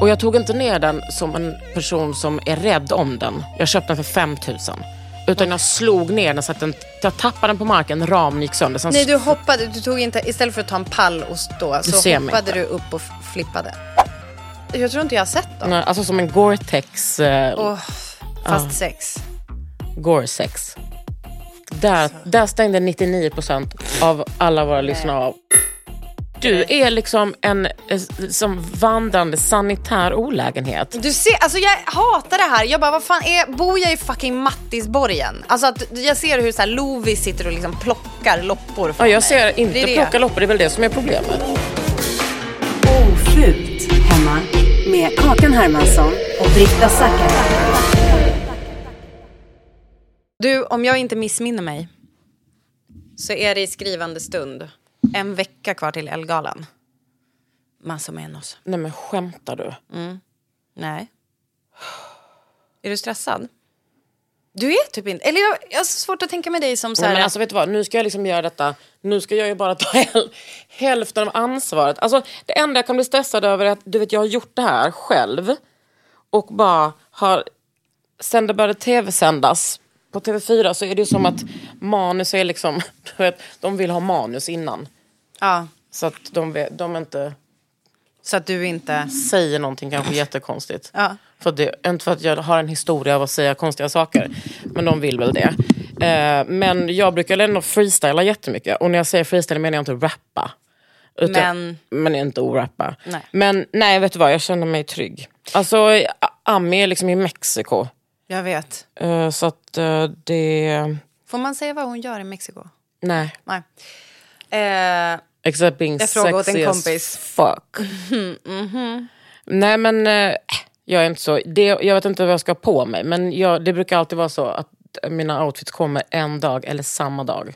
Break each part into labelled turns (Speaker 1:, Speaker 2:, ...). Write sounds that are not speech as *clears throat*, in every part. Speaker 1: Och jag tog inte ner den som en person som är rädd om den. Jag köpte den för 5000. Utan jag slog ner den så att den, jag tappade den på marken, ramen gick sönder. Sen
Speaker 2: Nej, du hoppade. Du tog inte, istället för att ta en pall och stå så
Speaker 1: ser mig
Speaker 2: hoppade
Speaker 1: inte.
Speaker 2: du upp och f- flippade. Jag tror inte jag har sett dem.
Speaker 1: Nej, Alltså som en Gore-Tex, eh,
Speaker 2: Åh, fast sex.
Speaker 1: Gore-Sex. Där, där stängde 99% av alla våra lyssnare av. Du är liksom en eh, som vandrande sanitär olägenhet.
Speaker 2: Du ser, alltså jag hatar det här. Jag bara, vad fan är, bor jag i fucking Mattisborgen? Alltså att jag ser hur så här Lovis sitter och liksom plockar loppor
Speaker 1: Ja,
Speaker 2: från
Speaker 1: jag
Speaker 2: mig.
Speaker 1: ser
Speaker 2: Det är
Speaker 1: inte
Speaker 2: det.
Speaker 1: plocka loppor, det är väl det som är problemet.
Speaker 3: Ofult hemma med Kakan Hermansson och Britta Zackari.
Speaker 2: Du, om jag inte missminner mig så är det i skrivande stund en vecka kvar till Elgalan. Más o menos.
Speaker 1: Nej men skämtar du?
Speaker 2: Nej. Är du stressad? Du är typ inte... Eller jag, jag har så svårt att tänka mig dig som så
Speaker 1: Nej,
Speaker 2: här...
Speaker 1: men alltså vet du vad, nu ska jag liksom göra detta. Nu ska jag ju bara ta *laughs* häl- hälften av ansvaret. Alltså det enda jag kan bli stressad över är att du vet jag har gjort det här själv. Och bara har, sen det började tv-sändas på TV4 så är det ju som att manus är liksom, *laughs* du vet, de vill ha manus innan.
Speaker 2: ja,
Speaker 1: Så att de, vet, de inte
Speaker 2: så att du inte...
Speaker 1: säger någonting kanske jättekonstigt.
Speaker 2: Mm. Ja.
Speaker 1: För att det, inte för att jag har en historia av att säga konstiga saker, men de vill väl det. Eh, men jag brukar ändå freestyla jättemycket. Och när jag säger freestyle menar jag inte rappa. Utan,
Speaker 2: Men-
Speaker 1: men inte orappa.
Speaker 2: Nej.
Speaker 1: Men nej, vet du vad, jag känner mig trygg. Alltså, A- Ami är liksom i Mexiko.
Speaker 2: Jag vet.
Speaker 1: Eh, så att eh, det...
Speaker 2: Får man säga vad hon gör i Mexiko?
Speaker 1: Nej.
Speaker 2: Nej. Eh,
Speaker 1: Except being
Speaker 2: Jag frågade åt
Speaker 1: sexy
Speaker 2: en
Speaker 1: as
Speaker 2: kompis.
Speaker 1: fuck. Nej men eh, jag är inte så, det, jag vet inte vad jag ska ha på mig men jag, det brukar alltid vara så att mina outfits kommer en dag eller samma dag.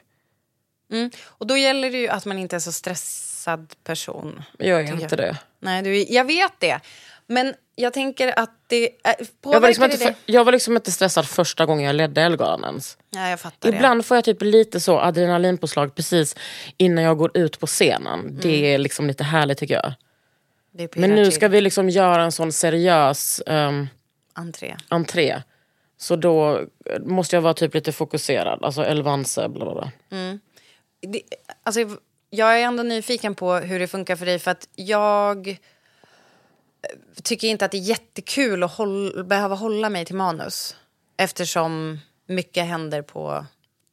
Speaker 2: och då gäller det ju att man inte är så stressad person.
Speaker 1: Jag är
Speaker 2: tycker
Speaker 1: inte det.
Speaker 2: Nej, du, är- jag vet det. Men jag tänker att det... eh, Påverkar
Speaker 1: Jag var, liksom
Speaker 2: det
Speaker 1: inte,
Speaker 2: dig?
Speaker 1: för, jag var liksom inte stressad första gången jag ledde Ellegalan ens.
Speaker 2: Nej, jag fattar det.
Speaker 1: Ibland får jag typ lite så adrenalinpåslag precis innan jag går ut på scenen. Det är liksom lite härligt tycker jag.
Speaker 2: Mm. Det pirrar
Speaker 1: Men nu
Speaker 2: till
Speaker 1: ska vi liksom göra en sån seriös ehm,
Speaker 2: Entré.
Speaker 1: entré. Så då måste jag vara typ lite fokuserad. Alltså Elvanse, bla bla bla.
Speaker 2: det, alltså, jag är ändå nyfiken på hur det funkar för dig för att jag eh, tycker inte att det är jättekul att håll, behöva hålla mig till manus eftersom mycket händer på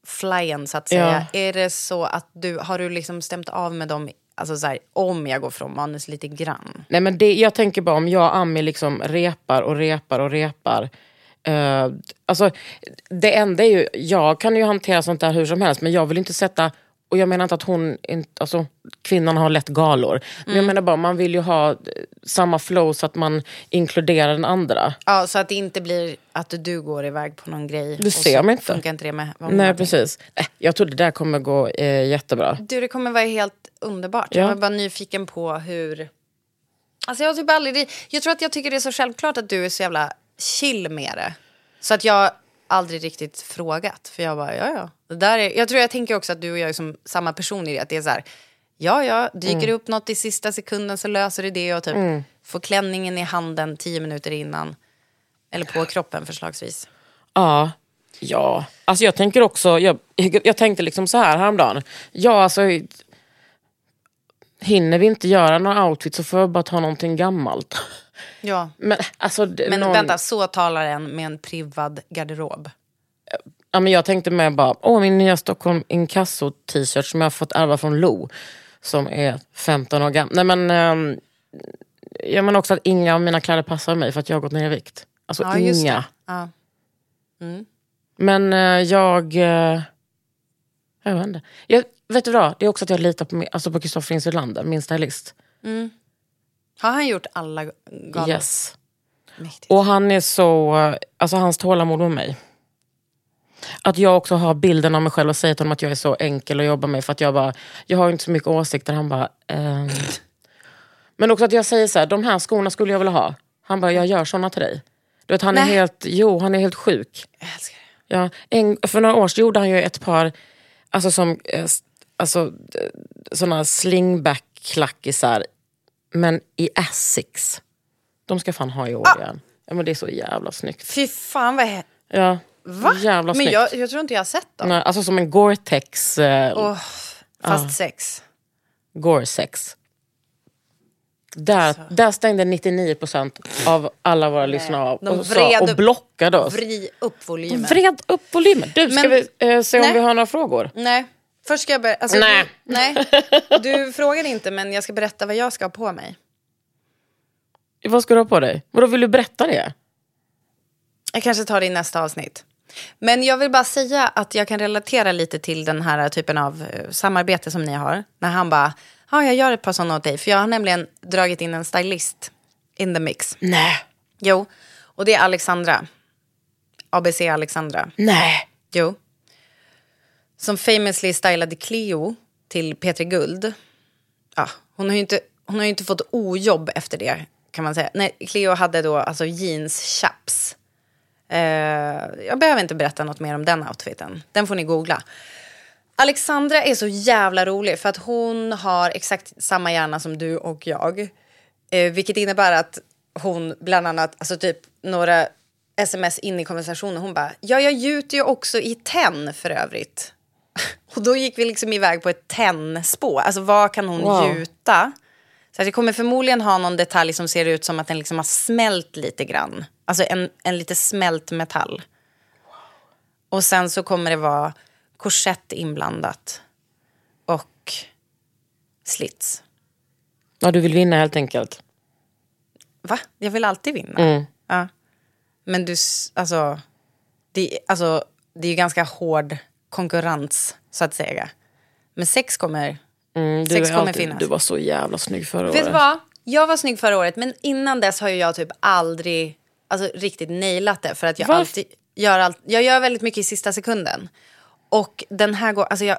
Speaker 2: flyen så att säga. Är det så att du, har du liksom stämt av med dem, alltså så här, om jag går från manus lite grann?
Speaker 1: Nej, men det, jag tänker bara om jag och Ami liksom repar och repar och repar. Eh, alltså, det enda är ju, jag kan ju hantera sånt där hur som helst men jag vill inte sätta Och jag menar inte att hon, inte, alltså, kvinnan har lätt galor. Men
Speaker 2: Mm.
Speaker 1: jag menar bara, man vill ju ha eh, samma flow så att man inkluderar den andra.
Speaker 2: Ja, så att det inte blir att du går iväg på någon grej.
Speaker 1: Det
Speaker 2: och
Speaker 1: ser
Speaker 2: så
Speaker 1: man inte.
Speaker 2: Funkar inte det med vad man
Speaker 1: Nej
Speaker 2: hade.
Speaker 1: precis. Nej, jag tror det där kommer gå eh, jättebra.
Speaker 2: Du, det kommer vara helt underbart.
Speaker 1: Ja.
Speaker 2: Jag var bara nyfiken på hur... Alltså jag har typ aldrig... Jag tror att jag tycker det är så självklart att du är så jävla chill med det. Så att jag aldrig riktigt frågat. För jag bara, ja ja. Det där är... Jag tror jag tänker också att du och jag är som samma person i det. Att det är så här, ja ja, dyker
Speaker 1: Mm.
Speaker 2: det upp något i sista sekunden så löser du det. Och typ får klänningen i handen tio minuter innan. Eller på kroppen förslagsvis.
Speaker 1: Ja. Ja. Alltså jag tänker också, jag, jag tänkte liksom så här häromdagen. Ja alltså, hinner vi inte göra några outfits så får jag bara ta någonting gammalt.
Speaker 2: Ja.
Speaker 1: Men alltså, det-
Speaker 2: Men
Speaker 1: någon,
Speaker 2: vänta, så talar en med en privad garderob.
Speaker 1: Ja, men jag tänkte med bara, åh min nya Stockholm Inkasso t-shirt som jag har fått ärva från Lo. Som är 15 år gammal. Nej men, ehm, jag menar också att inga av mina kläder passar mig för att jag har gått ner i vikt. Alltså
Speaker 2: Ja, just det.
Speaker 1: inga.
Speaker 2: Ja. Mm.
Speaker 1: Men eh, jag... Eh, jag vet inte. Jag, vet du vad? Det är också att jag litar på min- alltså på Kristoffer Insulander, min stylist.
Speaker 2: Har han gjort alla galor?
Speaker 1: Yes.
Speaker 2: Mäktigt.
Speaker 1: Och han är så... eh, Alltså hans tålamod med mig. Att jag också har bilden av mig själv och säger till honom att jag är så enkel att jobba med. För att jag bara, jag har inte så mycket åsikter. Han bara... ehm. Men också att jag säger så här, de här skorna skulle jag vilja ha. Han bara, jag gör såna till dig. Du vet, han är
Speaker 2: Nej.
Speaker 1: helt, jo han är helt sjuk.
Speaker 2: Jag älskar det.
Speaker 1: Ja, en, för några år sedan gjorde han ju ett par alltså som, eh, s- alltså, eh, såna slingback-klackisar, men i Asics. De ska fan ha i
Speaker 2: Ah!
Speaker 1: år igen. Ja, men det är så jävla snyggt.
Speaker 2: Fy fan vad he-
Speaker 1: Ja,
Speaker 2: Va?
Speaker 1: Jävla
Speaker 2: Men
Speaker 1: snyggt.
Speaker 2: jag, jag tror inte jag har sett dem.
Speaker 1: Nej, Alltså som en Gore-Tex. Eh,
Speaker 2: Åh, fast sex.
Speaker 1: Gore-Sex. Där,
Speaker 2: Alltså.
Speaker 1: där stängde 99% av alla våra lyssnare av
Speaker 2: de
Speaker 1: och, sa,
Speaker 2: vred-
Speaker 1: och blockade oss.
Speaker 2: Vrid upp volymen.
Speaker 1: Vred upp volymen. Du, ska
Speaker 2: Men-
Speaker 1: vi eh, se om
Speaker 2: Nej.
Speaker 1: vi har några frågor?
Speaker 2: Nej. Först ska jag börja... Alltså,
Speaker 1: Nej.
Speaker 2: Du, nej. Du frågade inte, men jag ska berätta vad jag ska ha på mig.
Speaker 1: Vad ska du ha på dig? Vadå, vill du berätta det?
Speaker 2: Jag kanske tar det i nästa avsnitt. Men jag vill bara säga att jag kan relatera lite till den här typen av eh, samarbete som ni har. När han bara, ja jag gör ett par sådana åt dig. För jag har nämligen dragit in en stylist in the mix.
Speaker 1: Nej.
Speaker 2: Jo, och det är Alexandra. ABC Alexandra.
Speaker 1: Nej.
Speaker 2: Jo. Som famously stylade Cleo till P3 Guld. Ja, hon har ju inte, hon har ju inte fått ojobb efter det, kan man säga. Nej, Cleo hade då alltså jeans chaps. Eh, jag behöver inte berätta något mer om den outfiten. Den får ni googla. Alexandra är så jävla rolig för att hon har exakt samma hjärna som du och jag. Eh, vilket innebär att hon bland annat, alltså typ några sms in i konversationen, hon bara “ja, jag gjuter ju också i tenn för övrigt”. *laughs* och då gick vi liksom iväg på ett tennspå, alltså vad kan hon
Speaker 1: Wow.
Speaker 2: gjuta? Så att jag kommer förmodligen ha någon detalj som ser ut som att den liksom har smält lite grann. Alltså en, en lite smält metall. Och sen så kommer det vara korsett inblandat. Och slits.
Speaker 1: Ja, du vill vinna helt enkelt.
Speaker 2: Va? Jag vill alltid vinna.
Speaker 1: Mm.
Speaker 2: Ja. Men du, s- alltså det, alltså... det är ju ganska hård konkurrens, så att säga. Men sex kommer...
Speaker 1: Mm, Du
Speaker 2: sex
Speaker 1: är
Speaker 2: kommer
Speaker 1: alltid-
Speaker 2: finnas.
Speaker 1: Du var så jävla snygg förra
Speaker 2: Vet du
Speaker 1: året.
Speaker 2: vad? Jag var snygg förra året, men innan dess har ju jag typ aldrig alltså, riktigt nailat det. För att jag,
Speaker 1: Varför?
Speaker 2: alltid gör allt, jag gör väldigt mycket i sista sekunden. Och den här, gå- alltså, jag,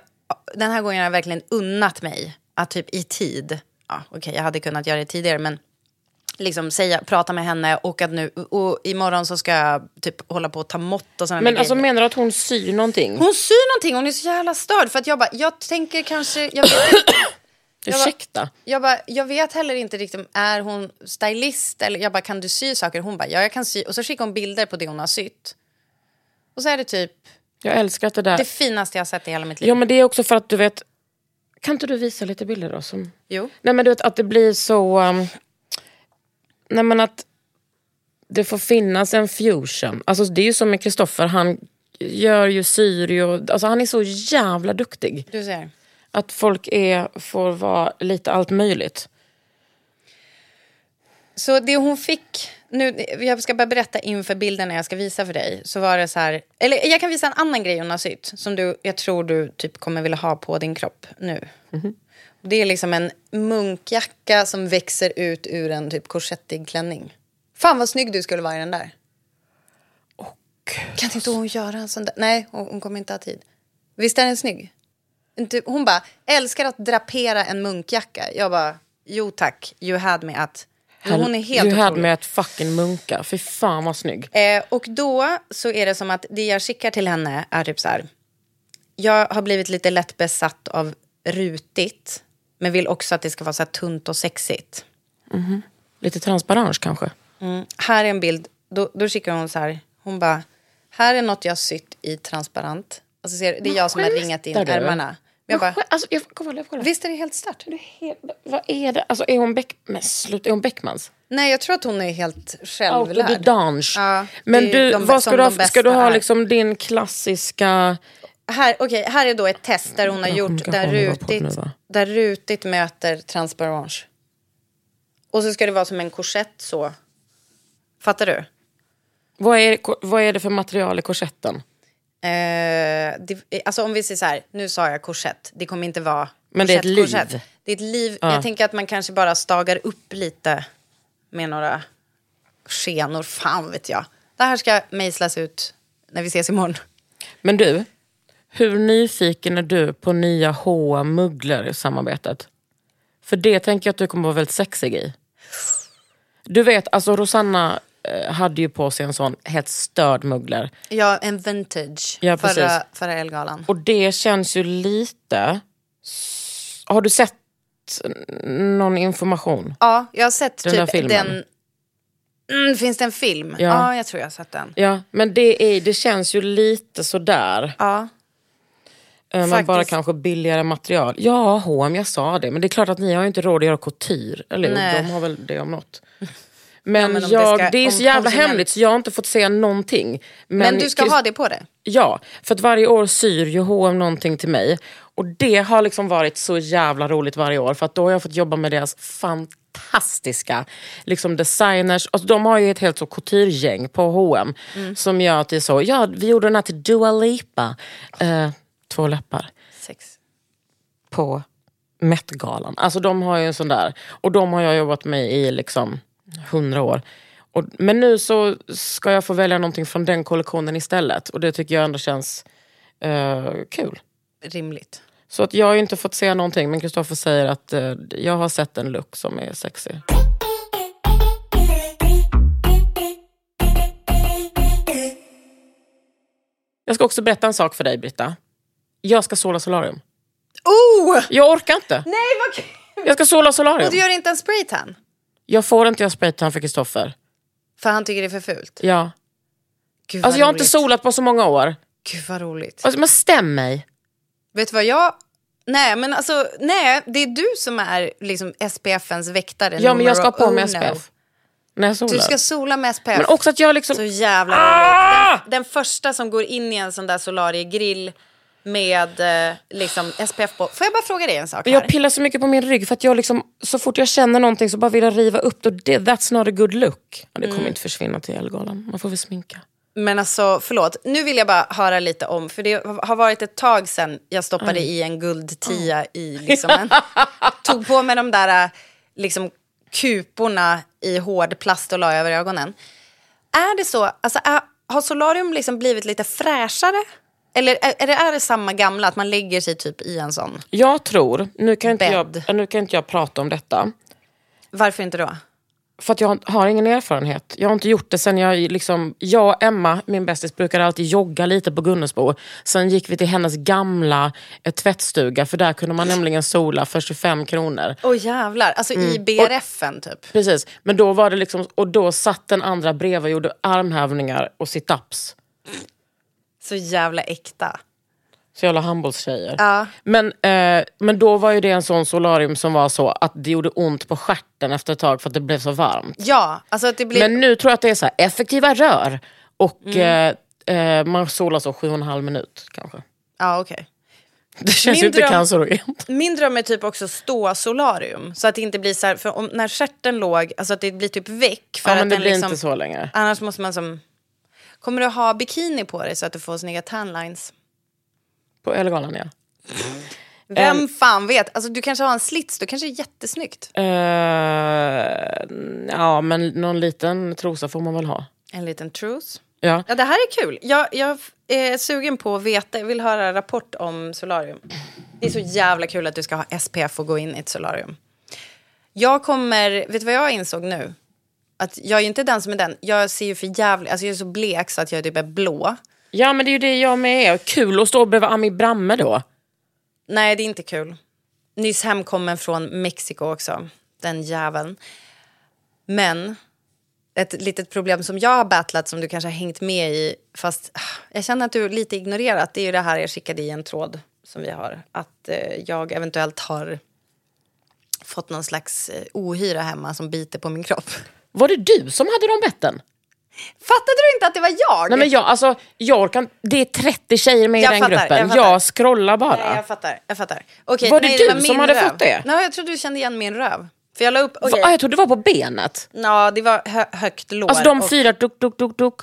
Speaker 2: den här gången har jag verkligen unnat mig att typ i tid... Ja, Okej, jag hade kunnat göra det tidigare, men liksom säga, prata med henne och att nu... Och imorgon så ska jag typ hålla på och ta mått och sådana
Speaker 1: Men alltså menar du att hon syr någonting?
Speaker 2: Hon syr någonting, hon är så jävla störd. För att jag bara, jag tänker kanske... Jag vet inte, jag bara-
Speaker 1: Ursäkta?
Speaker 2: jag bara, jag vet heller inte riktigt, är hon stylist? Eller jag bara, kan du sy saker? Hon bara, ja jag kan sy. Och så skickar hon bilder på det hon har sytt. Och så är det typ
Speaker 1: Jag älskar att det där...
Speaker 2: det finaste jag har sett i hela mitt liv.
Speaker 1: Ja, men det är också för att du vet... Kan inte du visa lite bilder då? Som...
Speaker 2: Jo.
Speaker 1: Nej, men du vet att det blir så... Um... Nej, men att det får finnas en fusion. Alltså det är ju som med Kristoffer, han gör ju syr ju... och- Alltså han är så jävla duktig.
Speaker 2: Du ser.
Speaker 1: Att folk är, får vara lite allt möjligt.
Speaker 2: Så det hon fick, nu, jag ska bara berätta inför bilden när jag ska visa för dig. Så var det så här, eller jag kan visa en annan grej hon har sytt. Som du, jag tror du typ kommer vilja ha på din kropp nu. Det är liksom en munkjacka som växer ut ur en typ korsettig klänning. Fan vad snygg du skulle vara i den där. Kan inte hon göra en sån där? Nej, hon, hon kommer inte ha tid. Visst är den snygg? Inte, hon bara, älskar att drapera en munkjacka. Jag bara, jo tack, you had me att... Hon är helt
Speaker 1: du hade
Speaker 2: otrolig.
Speaker 1: med ett fucking munka. Fy fan vad snygg.
Speaker 2: Eh, och då så är det som att det jag skickar till henne är typ så här. Jag har blivit lite lätt besatt av rutigt. Men vill också att det ska vara så här tunt och sexigt. Mm.
Speaker 1: Lite transparens kanske.
Speaker 2: Här är en bild. Då, då skickar hon så här. Hon bara. Här är något jag har sytt i transparent. Alltså ser du, det är jag som har ringat in
Speaker 1: Där du.
Speaker 2: ärmarna. Men jag bara.
Speaker 1: Sj- Alltså, jag, kolla, kolla.
Speaker 2: Visst är det helt stört?
Speaker 1: Det är helt, vad är det? Alltså, är hon Beck... Men sluta, är hon Beckmans?
Speaker 2: Nej, jag tror att hon är helt självlärd.
Speaker 1: Autodidang.
Speaker 2: Ja,
Speaker 1: Men
Speaker 2: det är
Speaker 1: du,
Speaker 2: de-
Speaker 1: vad
Speaker 2: som
Speaker 1: ska du ha?
Speaker 2: de
Speaker 1: Ska du
Speaker 2: bästa
Speaker 1: ha
Speaker 2: är.
Speaker 1: liksom din klassiska...
Speaker 2: Här, okej, här är då ett test där hon har
Speaker 1: Jag
Speaker 2: gjort
Speaker 1: kommer
Speaker 2: där
Speaker 1: inte ihåg vad podden
Speaker 2: rutigt,
Speaker 1: är, va?
Speaker 2: där rutigt möter transparens. Och så ska det vara som en korsett så. Fattar du?
Speaker 1: Vad är, vad är det för material i korsetten?
Speaker 2: Eh, det, alltså om vi säger så här, nu sa jag korsett. Det kommer inte vara
Speaker 1: Men det är ett
Speaker 2: korsett,
Speaker 1: liv.
Speaker 2: korsett. Det är ett liv. Jag tänker att man kanske bara stagar upp lite med några skenor. Fan vet jag. Det här ska mejslas ut när vi ses imorgon.
Speaker 1: Men du, hur nyfiken är du på nya H&M Muggler samarbetet? För det tänker jag att du kommer vara väldigt sexig i. Du vet, alltså Rosanna eh, hade ju på sig en sån helt störd Muggler.
Speaker 2: Ja, en vintage.
Speaker 1: Ja,
Speaker 2: förra,
Speaker 1: precis.
Speaker 2: förra Elgalan.
Speaker 1: Och det känns ju lite... s- Har du sett n- någon information?
Speaker 2: Ja, jag har sett
Speaker 1: Den
Speaker 2: typ
Speaker 1: där filmen.
Speaker 2: den... Mm, finns det en film? Ja.
Speaker 1: Ja.
Speaker 2: jag tror jag har sett den.
Speaker 1: Ja, men det, är, det känns ju lite sådär.
Speaker 2: Ja.
Speaker 1: Eh, Men
Speaker 2: Faktiskt.
Speaker 1: bara kanske billigare material. Ja, H&M, jag sa det. Men det är klart att ni har ju inte råd att göra couture. Eller
Speaker 2: Nej.
Speaker 1: hur? De har väl det om
Speaker 2: *laughs*
Speaker 1: något. Men,
Speaker 2: men om det
Speaker 1: jag, det,
Speaker 2: ska-
Speaker 1: är
Speaker 2: om
Speaker 1: så jävla
Speaker 2: konsument-
Speaker 1: hemligt så jag har inte fått se någonting. Men,
Speaker 2: Men du ska
Speaker 1: Chris-
Speaker 2: ha det på dig?
Speaker 1: Ja, för att varje år syr ju H&M någonting till mig. Och det har liksom varit så jävla roligt varje år. För att då har jag fått jobba med deras fantastiska liksom designers. Alltså, de har ju ett helt så couture-gäng på H&M
Speaker 2: Mm.
Speaker 1: Som gör att det är så, ja vi gjorde den här till Dua Lipa. Eh, två läppar
Speaker 2: Sex.
Speaker 1: på Met-galan. Alltså de har ju en sån där. Och de har jag jobbat med i liksom hundra år. Och, men nu så ska jag få välja någonting från den kollektionen istället. Och det tycker jag ändå känns eh, kul.
Speaker 2: Rimligt.
Speaker 1: Så att jag har ju inte fått se någonting men Kristoffer säger att eh, jag har sett en look som är sexig. Jag ska också berätta en sak för dig Britta. Jag ska sola solarium.
Speaker 2: Oh!
Speaker 1: Jag orkar inte.
Speaker 2: Nej, vad kul!
Speaker 1: Jag ska sola solarium.
Speaker 2: Och du gör inte en spraytan?
Speaker 1: Jag får inte göra spraytan för Kristoffer.
Speaker 2: För han tycker det är för fult?
Speaker 1: Ja.
Speaker 2: Gud, vad
Speaker 1: Alltså jag har
Speaker 2: roligt.
Speaker 1: inte solat på så många år.
Speaker 2: Gud vad roligt.
Speaker 1: Alltså, men stäm mig.
Speaker 2: Vet du vad jag... Nej, men alltså, nej, det är du som är liksom SPFs väktare.
Speaker 1: Ja men jag ska ha
Speaker 2: numero
Speaker 1: på mig
Speaker 2: uno.
Speaker 1: SPF. När jag solar.
Speaker 2: Du ska sola med SPF.
Speaker 1: Men också att jag liksom...
Speaker 2: Så jävla roligt. Den, den första som går in i en sån där solariegrill med eh, liksom SPF på. Får jag bara fråga dig en sak här?
Speaker 1: Jag pillar så mycket på min rygg för att jag liksom, så fort jag känner någonting så bara vill jag riva upp det. och det that's not a good look. Ja, det kommer
Speaker 2: Mm.
Speaker 1: inte försvinna till Ellegalan. Man får väl sminka.
Speaker 2: Men alltså, förlåt. Nu vill jag bara höra lite om, för det har varit ett tag sedan jag stoppade i en guldtia i liksom en, Tog på mig de där eh, liksom kuporna i hård plast och la över ögonen. Är det så, alltså är, har solarium liksom blivit lite fräschare? Eller är, är, det, är det samma gamla, att man lägger sig typ i en sån?
Speaker 1: Jag tror, nu kan inte, jag,
Speaker 2: Bädd.
Speaker 1: nu kan inte jag prata om detta.
Speaker 2: Varför inte då?
Speaker 1: För att jag har ingen erfarenhet. Jag har inte gjort det sen jag... Liksom, jag och Emma, min bästis, brukade alltid jogga lite på Gunnesbo. Sen gick vi till hennes gamla eh, tvättstuga, för där kunde man nämligen sola för 25 kronor.
Speaker 2: Åh jävlar, alltså
Speaker 1: Mm.
Speaker 2: i BRFen typ.
Speaker 1: Precis, men då var det liksom... Och då satt den andra bredvid och gjorde armhävningar och sit-ups.
Speaker 2: Så jävla äkta.
Speaker 1: Så jag la handbollstjejer.
Speaker 2: Ja.
Speaker 1: Men, eh, men då var ju det en sån solarium som var så att det gjorde ont på stjärten efter ett tag för att det blev så varmt.
Speaker 2: Ja, alltså att det blir...
Speaker 1: Men nu tror jag att det är så här, effektiva rör
Speaker 2: Mm.
Speaker 1: och eh, eh, man solar så sju och en halv minut kanske.
Speaker 2: Ja, okej.
Speaker 1: Det känns
Speaker 2: Min
Speaker 1: ju inte
Speaker 2: dröm-
Speaker 1: cancerogent.
Speaker 2: Min dröm är typ också stå solarium. Så att det inte blir så här, för om, när stjärten låg, alltså att det blir typ väck. För
Speaker 1: Ja,
Speaker 2: att
Speaker 1: men det
Speaker 2: den
Speaker 1: blir
Speaker 2: liksom,
Speaker 1: inte så längre.
Speaker 2: Annars måste man som... Kommer du ha bikini på dig så att du får snygga tanlines?
Speaker 1: På Ölgalan ja.
Speaker 2: Vem fan vet? Alltså, du kanske har en slits, då kanske det är jättesnyggt.
Speaker 1: Eh, ja, men någon liten trosa får man väl ha.
Speaker 2: En liten truce.
Speaker 1: Ja.
Speaker 2: Ja, det här är kul. Jag, jag är sugen på att veta, jag vill höra rapport om solarium. Det är så jävla kul att du ska ha SPF och gå in i ett solarium. Jag kommer, vet du vad jag insåg nu? Att jag är ju inte den som är den. Jag ser ju för jävligt, alltså jag är så blek så att jag typ är blå.
Speaker 1: ja, men det är ju det jag med är. Kul att stå bredvid Ami Bramme då.
Speaker 2: Nej, det är inte kul. Nyss hemkommen från Mexiko också, den jäveln. Men ett litet problem som jag har battlat som du kanske har hängt med i fast ah, jag känner att du lite ignorerat det är ju det här jag skickade i en tråd som vi har. Att eh, jag eventuellt har fått någon slags eh, ohyra hemma som biter på min kropp. *laughs*
Speaker 1: Var det du som hade de betten?
Speaker 2: Fattade du inte att det var jag?
Speaker 1: Nej men jag, alltså, jag orkar inte- Det är 30 tjejer med i
Speaker 2: Jag
Speaker 1: den
Speaker 2: fattar,
Speaker 1: gruppen.
Speaker 2: jag
Speaker 1: Jag,
Speaker 2: fattar.
Speaker 1: scrollar bara.
Speaker 2: Nej, jag fattar. Jag fattar. Okej,
Speaker 1: Var det
Speaker 2: nej,
Speaker 1: du
Speaker 2: var
Speaker 1: som
Speaker 2: min
Speaker 1: hade
Speaker 2: röv.
Speaker 1: fått det?
Speaker 2: Nej, jag trodde du kände igen min röv. För jag la upp... okej.
Speaker 1: Va- ah, jag trodde det var på benet.
Speaker 2: Ja, det var hö- högt lår.
Speaker 1: Alltså de
Speaker 2: och-
Speaker 1: fyra, duk, duk, duk, duk.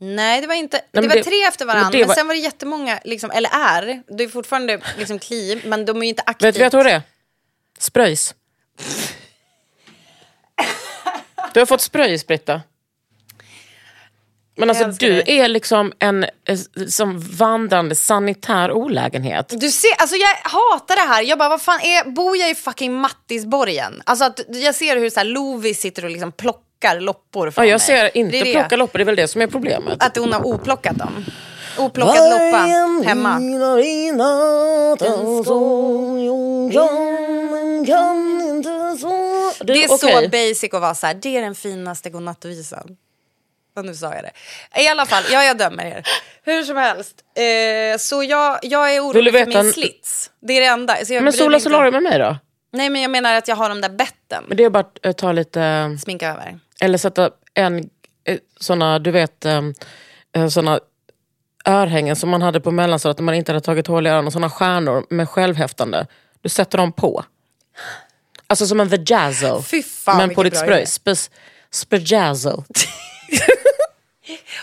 Speaker 2: Nej, det var inte.
Speaker 1: men
Speaker 2: det var
Speaker 1: det-
Speaker 2: tre efter varandra,
Speaker 1: men det
Speaker 2: men,
Speaker 1: var-
Speaker 2: sen var det jättemånga, liksom, eller är. Det är fortfarande liksom kli, men de är ju inte aktivt.
Speaker 1: Vet du vad jag tror det är? Spröjs. Du har fått spröjs, Britta. Men alltså
Speaker 2: älskar
Speaker 1: du
Speaker 2: dig.
Speaker 1: är liksom en eh, som vandrande sanitär olägenhet.
Speaker 2: Du ser, alltså jag hatar det här. Jag bara, vad fan är, bor jag i fucking Mattisborgen? Alltså att jag ser hur så här Lovis sitter och liksom plockar loppor
Speaker 1: Ja,
Speaker 2: från
Speaker 1: jag
Speaker 2: mig.
Speaker 1: ser
Speaker 2: Det är
Speaker 1: inte
Speaker 2: det.
Speaker 1: plocka loppor, det är väl det som är problemet.
Speaker 2: Att hon har oplockat dem. Oplockat loppa hemma.
Speaker 1: Du,
Speaker 2: Det är så
Speaker 1: okej.
Speaker 2: basic att vara så här, det är den finaste godnattvisan. Och nu sa jag det. I alla fall, ja jag dömer er. Hur som helst. Eh, så jag, jag
Speaker 1: Vill
Speaker 2: är
Speaker 1: du
Speaker 2: orolig för
Speaker 1: veta
Speaker 2: min
Speaker 1: en-
Speaker 2: slits. Det är det enda. Så jag
Speaker 1: Men
Speaker 2: bryr mig
Speaker 1: sola
Speaker 2: inte.
Speaker 1: solarium med mig då?
Speaker 2: Nej men jag menar att jag har de där betten.
Speaker 1: Men det är bara att eh, ta lite... eh,
Speaker 2: Sminka över.
Speaker 1: Eller sätta en eh, såna, du vet, eh, eh, såna örhängen som man hade på mellanstadiet när man inte hade tagit hål i öronen, såna stjärnor med självhäftande. Du sätter dem på. Alltså som en verjazzo.
Speaker 2: Fy fan,
Speaker 1: Men på
Speaker 2: vilken
Speaker 1: ditt
Speaker 2: bra
Speaker 1: spröj.
Speaker 2: idé.
Speaker 1: Spes- Spejazzo.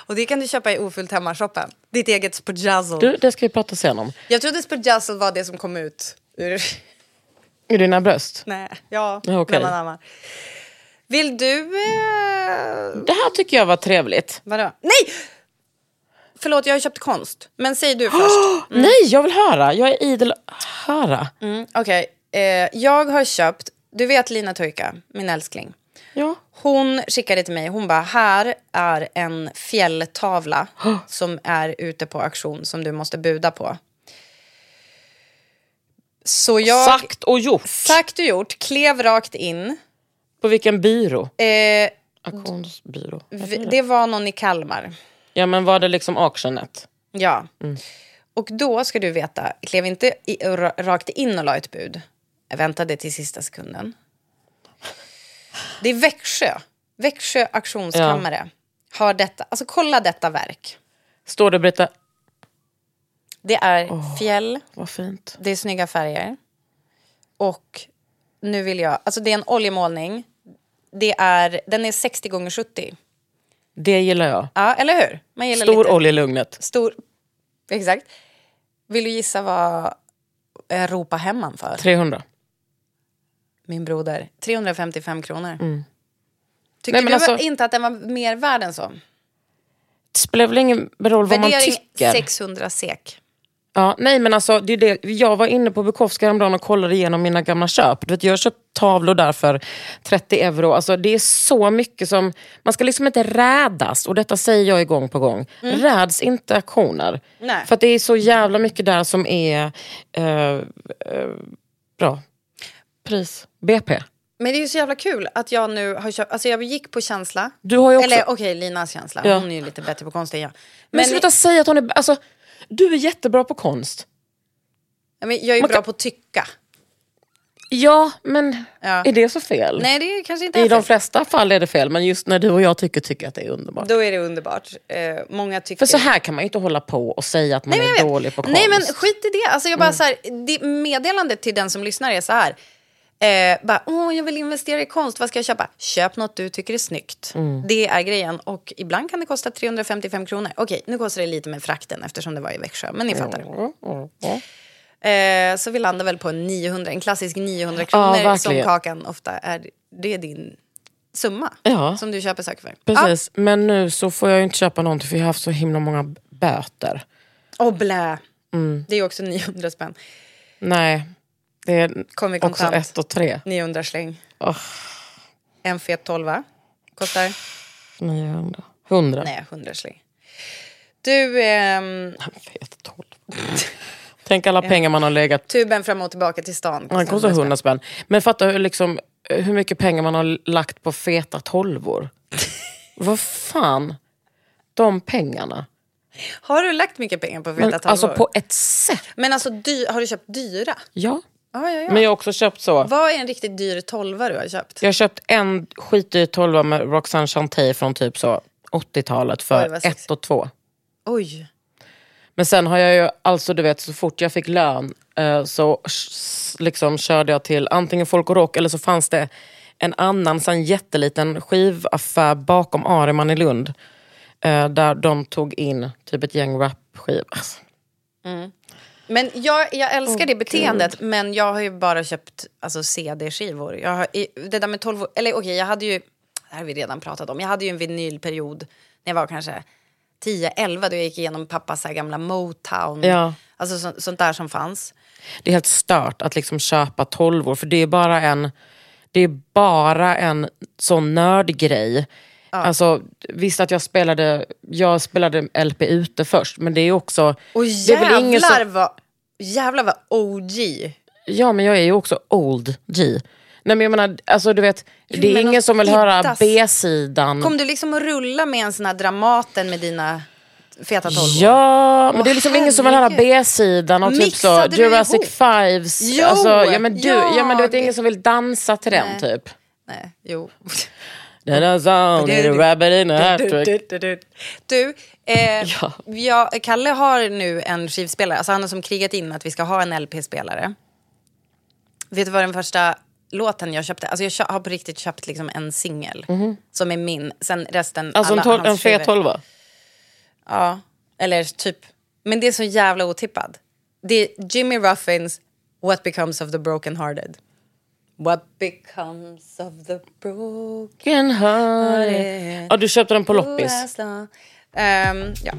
Speaker 2: Och det kan du köpa i ofyllt hemmashoppen. Ditt eget spurjazzle.
Speaker 1: Du, det ska vi prata sen om.
Speaker 2: Jag trodde spurjazzle var det som kom ut ur... *laughs*
Speaker 1: I dina bröst.
Speaker 2: Nej, ja.
Speaker 1: Ja, okej.
Speaker 2: bland annat. Vill du... Eh...
Speaker 1: Det här tycker jag var trevligt.
Speaker 2: Vadå? Nej! Förlåt, jag har köpt konst. Men säg du
Speaker 1: *gasps*
Speaker 2: först.
Speaker 1: Nej, jag vill höra. Jag är idel höra.
Speaker 2: Mm, Okej, eh, jag har köpt, du vet Lina Turka, min älskling.
Speaker 1: Ja.
Speaker 2: Hon skickade till mig, hon bara, här är en fjälltavla som är ute på auktion som du måste buda på. Så jag,
Speaker 1: Sagt och gjort.
Speaker 2: sagt och gjort, klev rakt in.
Speaker 1: På vilken byrå?
Speaker 2: Eh,
Speaker 1: Auktionsbyrå.
Speaker 2: v- det var någon i Kalmar.
Speaker 1: Ja, men var det liksom auctionet?
Speaker 2: Ja. Och då ska du veta, klev inte i, ra- rakt in och la ett bud. Jag väntade till sista sekunden. Det är Växjö. Växjö auktionskammare. Har detta, alltså kolla detta verk.
Speaker 1: Står det Britta,
Speaker 2: Det är fjäll,
Speaker 1: vad fint.
Speaker 2: det är snygga färger. Och nu vill jag, alltså det är en oljemålning. Det är, den är 60 gånger 70.
Speaker 1: Det gillar jag.
Speaker 2: Ja, eller hur? Man gillar
Speaker 1: Stor
Speaker 2: lite.
Speaker 1: olja i lugnet.
Speaker 2: Stor, exakt. Vill du gissa vad jag ropar hem man för?
Speaker 1: 300.
Speaker 2: min broder. 355 kronor. Tyckte
Speaker 1: Nej, Mm. men
Speaker 2: du
Speaker 1: alltså-
Speaker 2: inte att den var mer värd än så?
Speaker 1: Det spelar väl ingen roll vad man tycker.
Speaker 2: 600 sek.
Speaker 1: Ja, nej men alltså, det är det. Jag var inne på Bukowska häromdagen och kollade igenom mina gamla köp. Du vet, jag har köpt tavlor där för 30 euro. Alltså, det är så mycket som... Man ska liksom inte rädas. Och detta säger jag ju gång på gång. Räds inte auktioner.
Speaker 2: Mm. Nej.
Speaker 1: För att det är så jävla mycket där som är eh, eh, bra. Pris. BP.
Speaker 2: Men det är ju så jävla kul att jag nu har köpt... Alltså jag gick på känsla.
Speaker 1: Du har ju också...
Speaker 2: Eller okej, Linas känsla.
Speaker 1: Ja.
Speaker 2: Hon är ju lite bättre på konst än jag.
Speaker 1: Men, sluta säga att hon är... Alltså, du är jättebra på konst.
Speaker 2: Men jag är ju
Speaker 1: Man
Speaker 2: bra
Speaker 1: kan-
Speaker 2: på att tycka.
Speaker 1: Ja, men
Speaker 2: Ja.
Speaker 1: är det så fel?
Speaker 2: Nej, det är kanske inte
Speaker 1: I
Speaker 2: är
Speaker 1: de
Speaker 2: fel.
Speaker 1: flesta fall är det fel, men just när du och jag tycker, tycker jag att det är underbart.
Speaker 2: Då är det underbart. Eh, många tycker...
Speaker 1: För så här kan man ju inte hålla på och säga att man
Speaker 2: Nej, men
Speaker 1: är
Speaker 2: jag vet.
Speaker 1: dålig på konst. Mm.
Speaker 2: Nej men skit i det. Alltså, jag bara, så här, det meddelandet till den som lyssnar är så här. Eh, bara, Åh, jag vill investera i konst, vad ska jag köpa? Köp något du tycker är snyggt.
Speaker 1: Mm.
Speaker 2: Det är grejen. Och ibland kan det kosta 355 kronor. Okej, nu kostar det lite med frakten eftersom det var i Växjö. Men ni fattar. Eh, så vi landar väl på en 900, en klassisk 900 kronor som
Speaker 1: verkligen.
Speaker 2: Kakan ofta är. Det är din summa
Speaker 1: Ja.
Speaker 2: som du köper saker för.
Speaker 1: Precis, men nu så får jag ju inte köpa någonting för jag har haft så himla många b- böter.
Speaker 2: Ja, och blä.
Speaker 1: Mm.
Speaker 2: Det är också 900 spänn.
Speaker 1: Nej, det är
Speaker 2: Kom vi
Speaker 1: också
Speaker 2: kontant.
Speaker 1: ett och tre.
Speaker 2: 900 släng.
Speaker 1: Åh.
Speaker 2: En fet tolva kostar?
Speaker 1: 900. 100.
Speaker 2: Nej, 100 släng. Du, ehm,
Speaker 1: Fet, 12. Tänk alla pengar man har legat...
Speaker 2: tuben fram och tillbaka till stan.
Speaker 1: Det kostar 100 spänn. Men fatta hur, liksom, hur mycket pengar man har lagt på feta
Speaker 2: *laughs*
Speaker 1: tolvor. Vad fan? De pengarna.
Speaker 2: Har du lagt mycket pengar på feta
Speaker 1: Men,
Speaker 2: tolvor?
Speaker 1: alltså på ett sätt.
Speaker 2: Men alltså, dy- har du köpt dyra?
Speaker 1: Ja.
Speaker 2: Ja, ja, ja.
Speaker 1: Men jag har också köpt så.
Speaker 2: Vad är en riktigt dyr tolva du har köpt?
Speaker 1: Jag har köpt en skitdyr tolva med Roxanne Chanté från typ så 80-talet
Speaker 2: Oj,
Speaker 1: för
Speaker 2: vad
Speaker 1: ett
Speaker 2: sexigt.
Speaker 1: och två.
Speaker 2: Oj.
Speaker 1: Men sen har jag ju, alltså du vet så fort jag fick lön eh, så s- liksom körde jag till antingen Folk och Rock eller så fanns det en annan sån jätteliten skivaffär bakom Areman i Lund. eh, Där de tog in typ ett gäng rapskivor. Alltså,
Speaker 2: Men jag, jag älskar det beteendet, men jag har ju bara köpt alltså, CD-skivor. Jag har, i- det där med 12 Eller okej, jag hade ju... Det här har vi redan pratat om. Jag hade ju en vinylperiod när jag var kanske 10-11 då jag gick igenom pappas så här gamla Motown.
Speaker 1: Ja.
Speaker 2: Alltså så, sånt där som fanns.
Speaker 1: Det är helt stört att liksom köpa tolvor för det är bara en, det är bara en sån nördgrej. Alltså, visst att jag spelade, jag spelade LP ute först men det är ju också...
Speaker 2: Och
Speaker 1: det är väl ingen som-
Speaker 2: jävlar vad... Jävlar vad OG.
Speaker 1: Ja, men jag är ju också old G. Nej, men jag menar, alltså, du vet, det är
Speaker 2: men
Speaker 1: ingen
Speaker 2: att
Speaker 1: som vill höra
Speaker 2: hittas.
Speaker 1: B-sidan.
Speaker 2: Kom du liksom att rulla med en sån här Dramaten med dina feta tolvor?
Speaker 1: Ja, men det är liksom
Speaker 2: Åh,
Speaker 1: ingen som vill höra
Speaker 2: herregud.
Speaker 1: B-sidan och typ så
Speaker 2: Mixade du
Speaker 1: Jurassic
Speaker 2: ihop?
Speaker 1: Fives.
Speaker 2: Jo,
Speaker 1: alltså, ja, men du, ja.
Speaker 2: jag.
Speaker 1: men du vet, det är ingen som vill dansa till den typ.
Speaker 2: Nej, jo.
Speaker 1: Den där sound,
Speaker 2: Du,
Speaker 1: alltså, är
Speaker 2: du,
Speaker 1: rabbit in a hat
Speaker 2: Du,
Speaker 1: trick.
Speaker 2: du, du, du. Du, eh,
Speaker 1: Ja.
Speaker 2: jag, Kalle har nu en skivspelare. Alltså han har som krigat in att vi ska ha en LP-spelare. Vet du vad den första låten jag köpte? Alltså jag kö- har på riktigt köpt liksom en singel som är min. Sen resten...
Speaker 1: Mhm. Alltså en,
Speaker 2: alla
Speaker 1: tol-
Speaker 2: hans
Speaker 1: en fet
Speaker 2: skivor.
Speaker 1: tolva.
Speaker 2: Ja, eller typ. Men det är så jävla otippad. Det är Jimmy Ruffins What becomes of the broken hearted. What becomes of the broken
Speaker 1: Fucking hurry. Ja, du köpte den på loppis.
Speaker 2: Ehm, ja.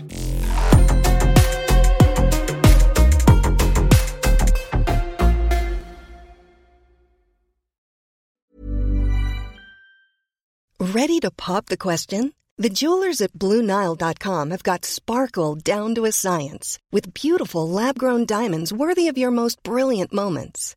Speaker 4: Ready to pop the question? The jewelers at BlueNile.com have got sparkle down to a science with beautiful lab grown diamonds worthy of your most brilliant moments.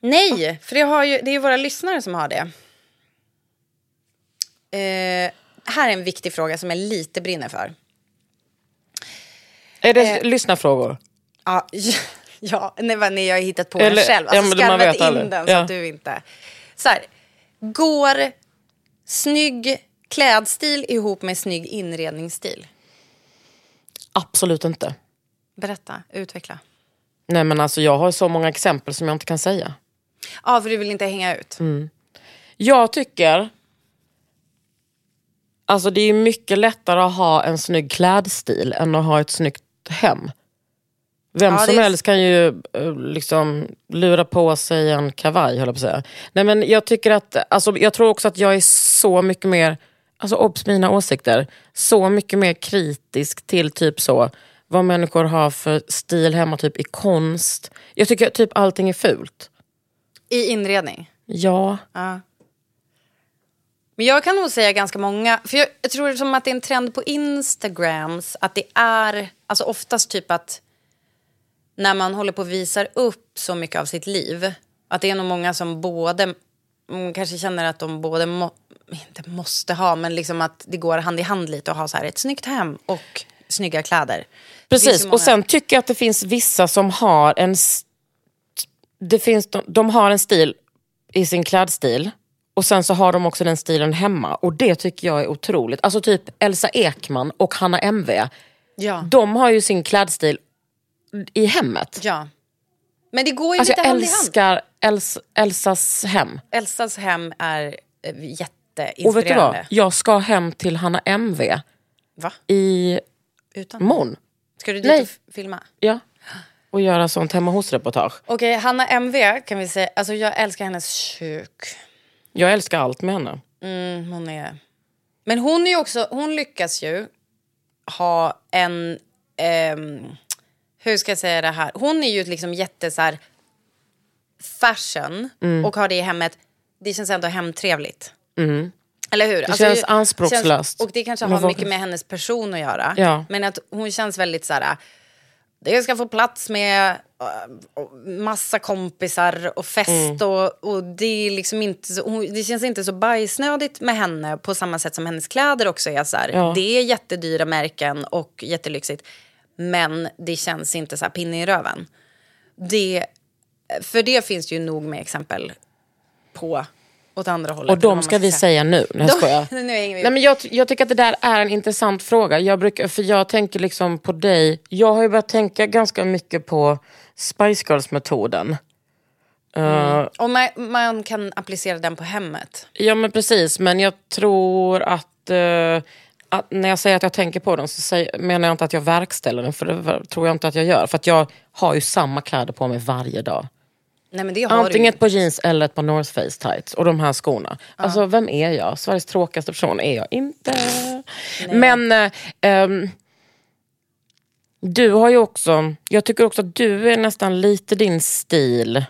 Speaker 2: Nej, för det, har ju, det är ju våra lyssnare som har det. Eh, här är en viktig fråga som jag lite brinner för.
Speaker 1: Är
Speaker 2: Eh.
Speaker 1: det lyssnarfrågor?
Speaker 2: Ja, *laughs* ja nej, vad- nej, jag har hittat på
Speaker 1: Eller-
Speaker 2: den själv.
Speaker 1: ja,
Speaker 2: Alltså,
Speaker 1: men man
Speaker 2: skarvat
Speaker 1: vet
Speaker 2: in
Speaker 1: aldrig.
Speaker 2: den så
Speaker 1: Ja.
Speaker 2: att du inte... Så här, går snygg klädstil ihop med snygg inredningsstil?
Speaker 1: Absolut inte.
Speaker 2: Berätta, utveckla.
Speaker 1: Nej men alltså jag har så många exempel som jag inte kan säga.
Speaker 2: Ja, för du vill inte hänga ut.
Speaker 1: Mm. Jag tycker... Alltså det är ju mycket lättare att ha en snygg klädstil än att ha ett snyggt hem. Vem
Speaker 2: Ja, det
Speaker 1: som
Speaker 2: är-
Speaker 1: helst kan ju eh, liksom lura på sig en kavaj, höll jag på att säga. Nej, men jag, tycker att, alltså, jag tror också att jag är så mycket mer, alltså obs mina åsikter, så mycket mer kritisk till typ så vad människor har för stil hemma typ i konst. Jag tycker typ allting är fult.
Speaker 2: I inredning?
Speaker 1: Ja.
Speaker 2: Ja. Men jag kan nog säga ganska många. För jag, jag tror som att det är en trend på Instagrams att det är, alltså oftast typ att när man håller på och visar upp så mycket av sitt liv, att det är nog många som både, mm, kanske känner att de både, må, inte måste ha, men liksom att det går hand i hand lite och ha så här ett snyggt hem och snygga kläder. Det finns
Speaker 1: Precis,
Speaker 2: ju
Speaker 1: och
Speaker 2: många-
Speaker 1: sen tycker jag att det finns vissa som har en... st- Det finns, de, de har en stil i sin klädstil och sen så har de också den stilen hemma. Och det tycker jag är otroligt. Alltså typ Elsa Ekman och Hanna MV.
Speaker 2: Ja.
Speaker 1: De har ju sin klädstil i hemmet.
Speaker 2: ja. Men det går ju
Speaker 1: Alltså
Speaker 2: lite
Speaker 1: jag
Speaker 2: hand i hand.
Speaker 1: älskar Els, Elsas hem.
Speaker 2: Elsas hem är eh, jätteinspirerande.
Speaker 1: Och vet du vad? Jag ska hem till Hanna MV
Speaker 2: Va?
Speaker 1: i
Speaker 2: Utan?
Speaker 1: morgon.
Speaker 2: Ska du dit
Speaker 1: Nej.
Speaker 2: och f- filma?
Speaker 1: Ja. Och göra sånt hemma hos-reportage.
Speaker 2: Okej, Hanna MV kan vi säga. Alltså jag älskar hennes kök.
Speaker 1: Jag älskar allt med henne.
Speaker 2: Mm, hon är... Men hon är ju också, hon lyckas ju ha en, ehm, hur ska jag säga det här? Hon är ju liksom jätte så här fashion
Speaker 1: Mm.
Speaker 2: och har det i hemmet. Det känns ändå hemtrevligt. Eller hur? Alltså, Det
Speaker 1: Mm. känns anspråkslöst.
Speaker 2: och det kanske
Speaker 1: Men
Speaker 2: har
Speaker 1: vad-
Speaker 2: mycket med hennes person att göra.
Speaker 1: Ja.
Speaker 2: Men att hon känns väldigt så här, jag ska få plats med eh, massa kompisar och fest
Speaker 1: Mm.
Speaker 2: och, och det är liksom inte så, hon, det känns inte så bajsnödigt med henne på samma sätt som hennes kläder också är så här.
Speaker 1: Ja.
Speaker 2: Det är jättedyra märken och jättelyxigt men det känns inte så här pinne i röven. Det, för det finns det ju nog med exempel på åt andra hållet.
Speaker 1: Och
Speaker 2: eller vad
Speaker 1: de
Speaker 2: man
Speaker 1: ska vi säga nu. Nej, jag
Speaker 2: De-
Speaker 1: skojar.
Speaker 2: *laughs* Nu hänger vi
Speaker 1: Nej, men jag, jag tycker att det där är en intressant fråga. Jag, brukar, för jag tänker liksom på dig. Jag har ju börjat tänka ganska mycket på Spice Girls-metoden. Eh,
Speaker 2: Och man, man kan applicera den på hemmet.
Speaker 1: ja, men precis. Men jag tror att, eh, att när jag säger att jag tänker på den så säger, menar jag inte att jag verkställer den. För det ver- tror jag inte att jag gör. För att jag har ju samma kläder på mig varje dag.
Speaker 2: Nej men det har du ju.
Speaker 1: Antingen ett par jeans eller ett par North Face tights och de här skorna. Alltså vem är jag? Sveriges tråkigaste person är jag inte. Men eh, ehm, du har ju också, jag tycker också att du är nästan lite din stil.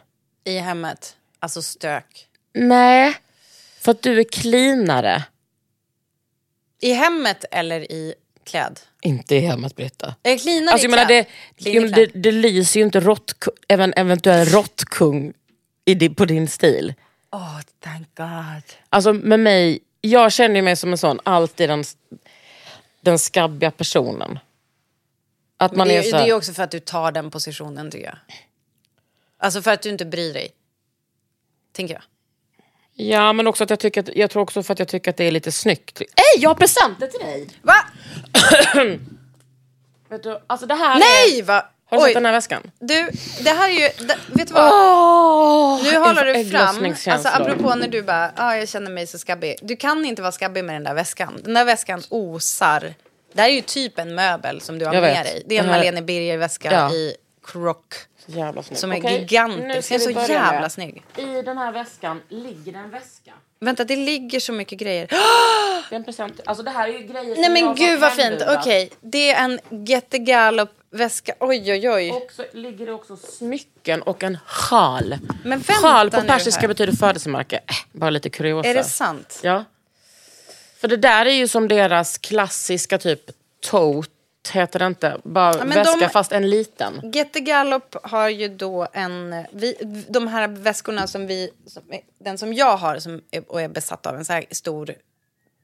Speaker 2: I hemmet. Alltså stök.
Speaker 1: Nej, för att du är cleanare.
Speaker 2: I hemmet eller i kläd?
Speaker 1: Inte i hemmet Britta.
Speaker 2: Jag cleanar
Speaker 1: Alltså, jag
Speaker 2: i
Speaker 1: menar,
Speaker 2: kläd.
Speaker 1: det,
Speaker 2: Clean i
Speaker 1: det,
Speaker 2: kläd.
Speaker 1: det lyser ju inte råttku- även eventuell råttkung i di- på din stil.
Speaker 2: Åh, thank God.
Speaker 1: Alltså med mig, jag känner ju mig som en sån, alltid den, den skabbiga personen. Att
Speaker 2: Men
Speaker 1: man
Speaker 2: det,
Speaker 1: är
Speaker 2: är,
Speaker 1: så
Speaker 2: det är
Speaker 1: här,
Speaker 2: ju också för att du tar den positionen tycker jag. Alltså för att du inte bryr dig. Tänker jag.
Speaker 1: Ja men också att jag tycker att, jag tror också för att jag tycker att det är lite snyggt. Ey jag har presenter till dig!
Speaker 2: Va?
Speaker 1: Vet du, alltså det här
Speaker 2: Nej!
Speaker 1: Är,
Speaker 2: Va?
Speaker 1: har du
Speaker 2: Oj,
Speaker 1: sett den här väskan?
Speaker 2: du, det här är ju... Det, vet du vad?
Speaker 1: Oh,
Speaker 2: Nu håller du fram, alltså apropå när du bara, ah, jag känner mig så skabbig. Du kan inte vara skabbig med den där väskan. Den där väskan osar. Det här är ju typ en möbel som du har
Speaker 1: Jag
Speaker 2: med
Speaker 1: vet.
Speaker 2: dig. Det är en
Speaker 1: Den här-
Speaker 2: Marlene Birger-väska
Speaker 1: Ja.
Speaker 2: i krock.
Speaker 1: Jävla snygg.
Speaker 2: Som är
Speaker 1: Okej, nu
Speaker 2: gigantisk.
Speaker 1: ska
Speaker 2: Den är så
Speaker 1: vi börja
Speaker 2: jävla
Speaker 1: med-
Speaker 2: snygg.
Speaker 1: I den här väskan ligger det en väska.
Speaker 2: Vänta, det ligger så mycket grejer.
Speaker 1: Det är en present, alltså det här är ju grejer
Speaker 2: Nej
Speaker 1: som jag
Speaker 2: men
Speaker 1: har
Speaker 2: gud vad fint.
Speaker 1: hemburat.
Speaker 2: Okej, det är en Get Gallop-väska. Oj, oj, oj.
Speaker 1: Och så ligger det också smycken och en sjal.
Speaker 2: Men vänta
Speaker 1: sjal på
Speaker 2: nu
Speaker 1: persiska
Speaker 2: här.
Speaker 1: betyder födelsemärke. Äh, bara lite kuriosa.
Speaker 2: Är det sant?
Speaker 1: Ja. För det där är ju som deras klassiska typ tote, heter det inte? Bara
Speaker 2: men
Speaker 1: väska
Speaker 2: de-
Speaker 1: fast en liten.
Speaker 2: Get the Gallop har ju då en... Vi, de här väskorna som vi... Som, den som jag har som är, och är besatt av, en så här stor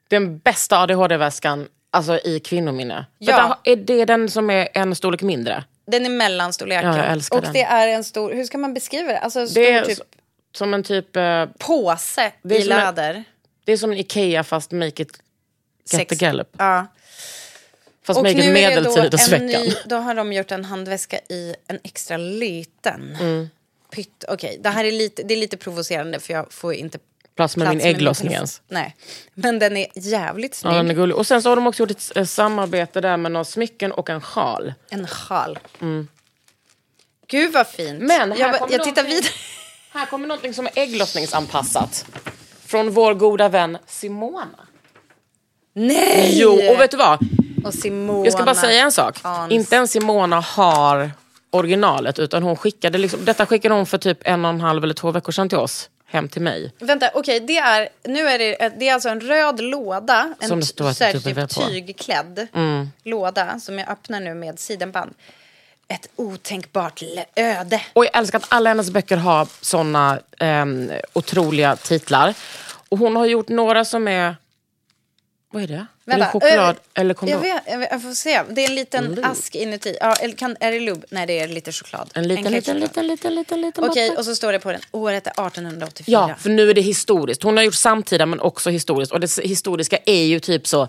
Speaker 1: Den bästa ADHD-väskan alltså, i kvinnominne.
Speaker 2: Ja.
Speaker 1: Vänta, är det den som är en storlek mindre?
Speaker 2: Den är mellanstorleken.
Speaker 1: Ja, jag älskar
Speaker 2: och
Speaker 1: den.
Speaker 2: det är en stor, hur ska man beskriva det? Alltså stor
Speaker 1: Det är
Speaker 2: typ
Speaker 1: s- som en typ... eh,
Speaker 2: påse
Speaker 1: Det är
Speaker 2: i
Speaker 1: som en-
Speaker 2: läder.
Speaker 1: Det är som en Ikea fast make it get the
Speaker 2: Sex-
Speaker 1: gallop.
Speaker 2: Ja.
Speaker 1: Fast
Speaker 2: Och
Speaker 1: make it
Speaker 2: nu är det då en
Speaker 1: medeltidsveckan.
Speaker 2: ny, då har de gjort en handväska i en extra liten.
Speaker 1: Mm.
Speaker 2: Pytt, okej, det här är lite, det är lite provocerande för jag får inte
Speaker 1: Plats med min
Speaker 2: min
Speaker 1: ägglossning
Speaker 2: penis.
Speaker 1: ens.
Speaker 2: Nej, men den är jävligt snygg.
Speaker 1: Ja, den är gullig. Och sen så har de också gjort ett eh, samarbete där med några smycken och en sjal.
Speaker 2: En sjal. Gud vad fint.
Speaker 1: Mm. Men här
Speaker 2: jag, ba-
Speaker 1: kommer
Speaker 2: jag tittar
Speaker 1: någonting.
Speaker 2: vidare. *laughs*
Speaker 1: Här kommer någonting som är ägglossningsanpassat. Från vår goda vän Simona.
Speaker 2: Nej!
Speaker 1: Jo, och vet du vad?
Speaker 2: Och Simona.
Speaker 1: Jag ska bara säga en sak.
Speaker 2: Hans.
Speaker 1: Inte ens Simona har originalet utan hon skickade liksom, detta skickade hon för typ en och en halv eller två veckor sedan till oss. Hem till mig.
Speaker 2: Vänta, okej, det är, nu är det, det är alltså en röd låda. En
Speaker 1: Som det står
Speaker 2: t- så här
Speaker 1: ett W
Speaker 2: typ
Speaker 1: på. Mm.
Speaker 2: tygklädd låda som jag öppnar nu med sidenband. Ett otänkbart le- öde.
Speaker 1: Och jag älskar att alla hennes böcker har såna ehm, otroliga titlar. Och hon har gjort några som är... Vad är det? eller choklad
Speaker 2: eh,
Speaker 1: eller
Speaker 2: jag,
Speaker 1: kondom.
Speaker 2: vet, jag, vet, jag får se. Det är en liten ask inuti. Ja, eller kan, är det lubb? Nej, det är lite choklad.
Speaker 1: En liten,
Speaker 2: kexchoklad.
Speaker 1: liten, liten, liten, liten, liten
Speaker 2: Okej,
Speaker 1: matta.
Speaker 2: och så står det på den. Året är 1884.
Speaker 1: Ja, för nu är det historiskt. Hon har gjort samtida men också historiskt. Och det historiska är ju typ så.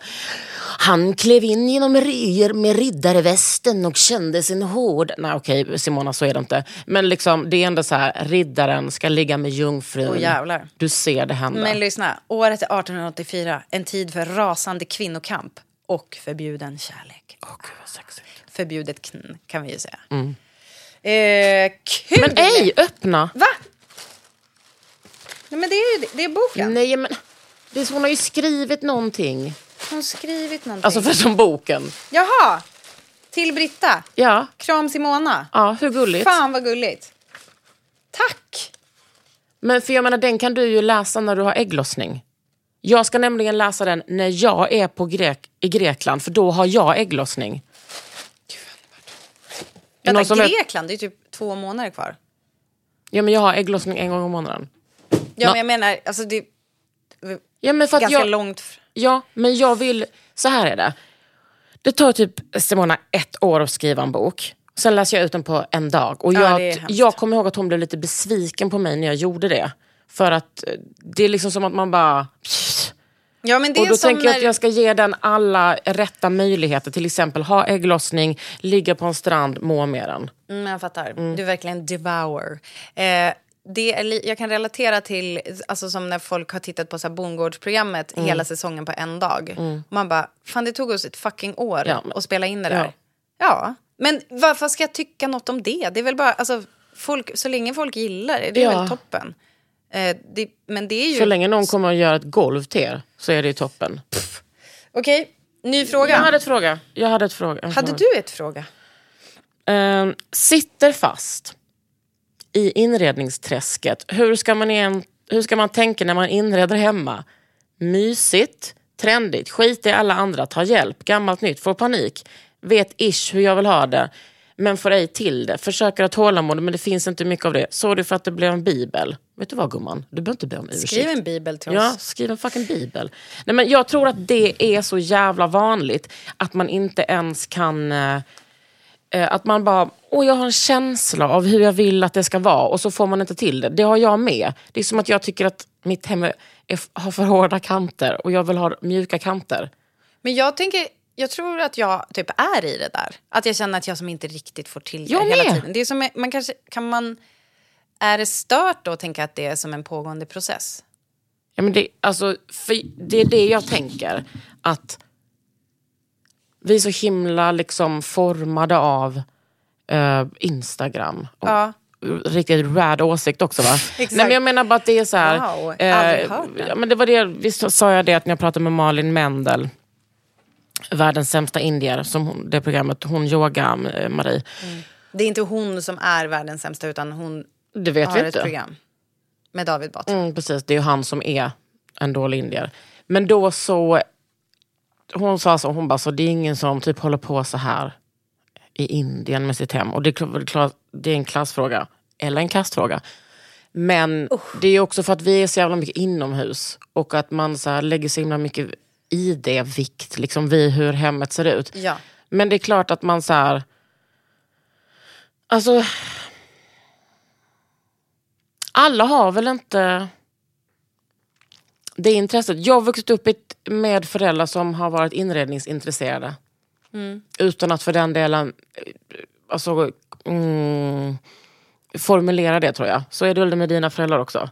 Speaker 1: Han klev in genom ryer med riddarvästen och kände sin hård... Nej okej Simona, så är det inte. Men liksom, det är ändå så här, riddaren ska ligga med jungfrun.
Speaker 2: Åh, jävlar.
Speaker 1: Du ser det hända.
Speaker 2: Men lyssna, året är 1884. En tid för rasande kvinnokamp och förbjuden kärlek.
Speaker 1: Åh, gud, vad sexigt.
Speaker 2: Förbjudet kn, kan vi ju säga. Eh, kul!
Speaker 1: Mm. Men ej, öppna!
Speaker 2: Va? Nej, men det är ju det, det är boken.
Speaker 1: Nej men, det är så, hon har ju skrivit någonting.
Speaker 2: Hon har skrivit någonting.
Speaker 1: Alltså förutom boken.
Speaker 2: Jaha! Till Britta.
Speaker 1: Ja,
Speaker 2: Kram Simona.
Speaker 1: ja hur gulligt.
Speaker 2: Fan vad gulligt. Tack!
Speaker 1: Men för jag menar, den kan du ju läsa när du har ägglossning. Jag ska nämligen läsa den när jag är på Grek i Grekland, för då har jag ägglossning. Är det någon
Speaker 2: Vänta,
Speaker 1: som vet-
Speaker 2: Grekland, det är typ två månader kvar.
Speaker 1: Ja, men jag har ägglossning en gång i månaden.
Speaker 2: Ja,
Speaker 1: Nå-
Speaker 2: men jag menar, alltså det är
Speaker 1: Ja, men för att
Speaker 2: ganska
Speaker 1: jag...
Speaker 2: långt. fr-
Speaker 1: Ja, men jag vill... Så här är det. Det tar typ, Simona, ett år att skriva en bok. Sen läser jag ut den på en dag. Och
Speaker 2: Ja,
Speaker 1: jag,
Speaker 2: det är hemskt.
Speaker 1: jag kommer ihåg att hon blev lite besviken på mig när jag gjorde det. För att eh, det är liksom som att man bara...
Speaker 2: Ja, men det
Speaker 1: Och
Speaker 2: är
Speaker 1: då
Speaker 2: som
Speaker 1: tänker jag att
Speaker 2: när-
Speaker 1: jag ska ge den alla rätta möjligheter. Till exempel ha ägglossning, ligga på en strand, må med den.
Speaker 2: Mm, jag fattar. Du är verkligen devour. Eh, det är li- jag kan relatera till alltså, som när folk har tittat på så här, bondgårdsprogrammet
Speaker 1: Mm.
Speaker 2: hela säsongen på en dag. Man bara, fan det tog oss ett fucking år
Speaker 1: Ja, men-
Speaker 2: att spela in det
Speaker 1: ja.
Speaker 2: där. Ja. men varför ska jag tycka något om det? Det är väl bara, alltså, folk, så länge folk gillar det, det är
Speaker 1: Ja.
Speaker 2: väl toppen. Eh, det, men det är ju...
Speaker 1: Så länge någon kommer att göra ett golv till er så är det ju toppen.
Speaker 2: Okej, ny
Speaker 1: Jag
Speaker 2: fråga.
Speaker 1: hade ett fråga. Jag hade ett fråga. en
Speaker 2: Hade
Speaker 1: fråga.
Speaker 2: du ett fråga?
Speaker 1: Ehm, sitter fast i inredningsträsket. Hur ska, man igen, hur ska man tänka när man inreder hemma? Mysigt, trendigt, skit i alla andra, ta hjälp, gammalt nytt, får panik. Vet ish hur jag vill ha det, men får ej till det. Försöker ha tålamod, men det finns inte mycket av det. Såg du för att det blev en bibel? Vet du vad gumman, du behöver inte be om ursäkt.
Speaker 2: Skriv en bibel till
Speaker 1: Ja,
Speaker 2: oss.
Speaker 1: skriv en fucking bibel. Nej, men jag tror att det är så jävla vanligt att man inte ens kan... Eh, eh, att man bara, åh jag har en känsla av hur jag vill att det ska vara och så får man inte till det. Det har jag med. Det är som att jag tycker att mitt hem är, är, har för hårda kanter och jag vill ha mjuka kanter.
Speaker 2: Men jag tänker, jag tror att jag typ är i det där. Att jag känner att jag som inte riktigt får till det
Speaker 1: Jag
Speaker 2: hela
Speaker 1: med.
Speaker 2: tiden. Det är som, man kanske, kan man, är det stört då att tänka att det är som en pågående process?
Speaker 1: Ja, men det, alltså, för det är det jag tänker. Att vi är så himla liksom formade av eh, Instagram. Och
Speaker 2: Ja.
Speaker 1: Riktigt rad åsikt också
Speaker 2: *laughs*
Speaker 1: va? Nej, men jag menar bara att det är så här. eh,
Speaker 2: Wow, aldrig hört den.
Speaker 1: ja, men det var det, visst sa jag det att när jag pratade med Malin Mendel, världens sämsta indier, som hon, det programmet, hon yoga eh, Marie.
Speaker 2: Det är inte hon som är världens sämsta utan hon
Speaker 1: Det vet
Speaker 2: har
Speaker 1: vi
Speaker 2: ett
Speaker 1: inte.
Speaker 2: program med David Batra.
Speaker 1: Mm, precis, det är ju han som är en dålig indier. Men då så, hon sa så, hon bara så, det är ingen som typ håller på så här i Indien med sitt hem. Och det är, kl- klar- det är en klassfråga, eller en kastfråga. Men det är ju också för att vi är så jävla mycket inomhus och att man så här lägger så himla mycket i det vikt, liksom vid hur hemmet ser ut.
Speaker 2: Ja.
Speaker 1: Men det är klart att man så här... Alltså... Alla har väl inte det intresset. Jag har vuxit upp i ett- med föräldrar som har varit inredningsintresserade.
Speaker 2: Mm.
Speaker 1: Utan att för den delen eh, alltså, mm, formulera det tror jag. Så är det väl med dina föräldrar också?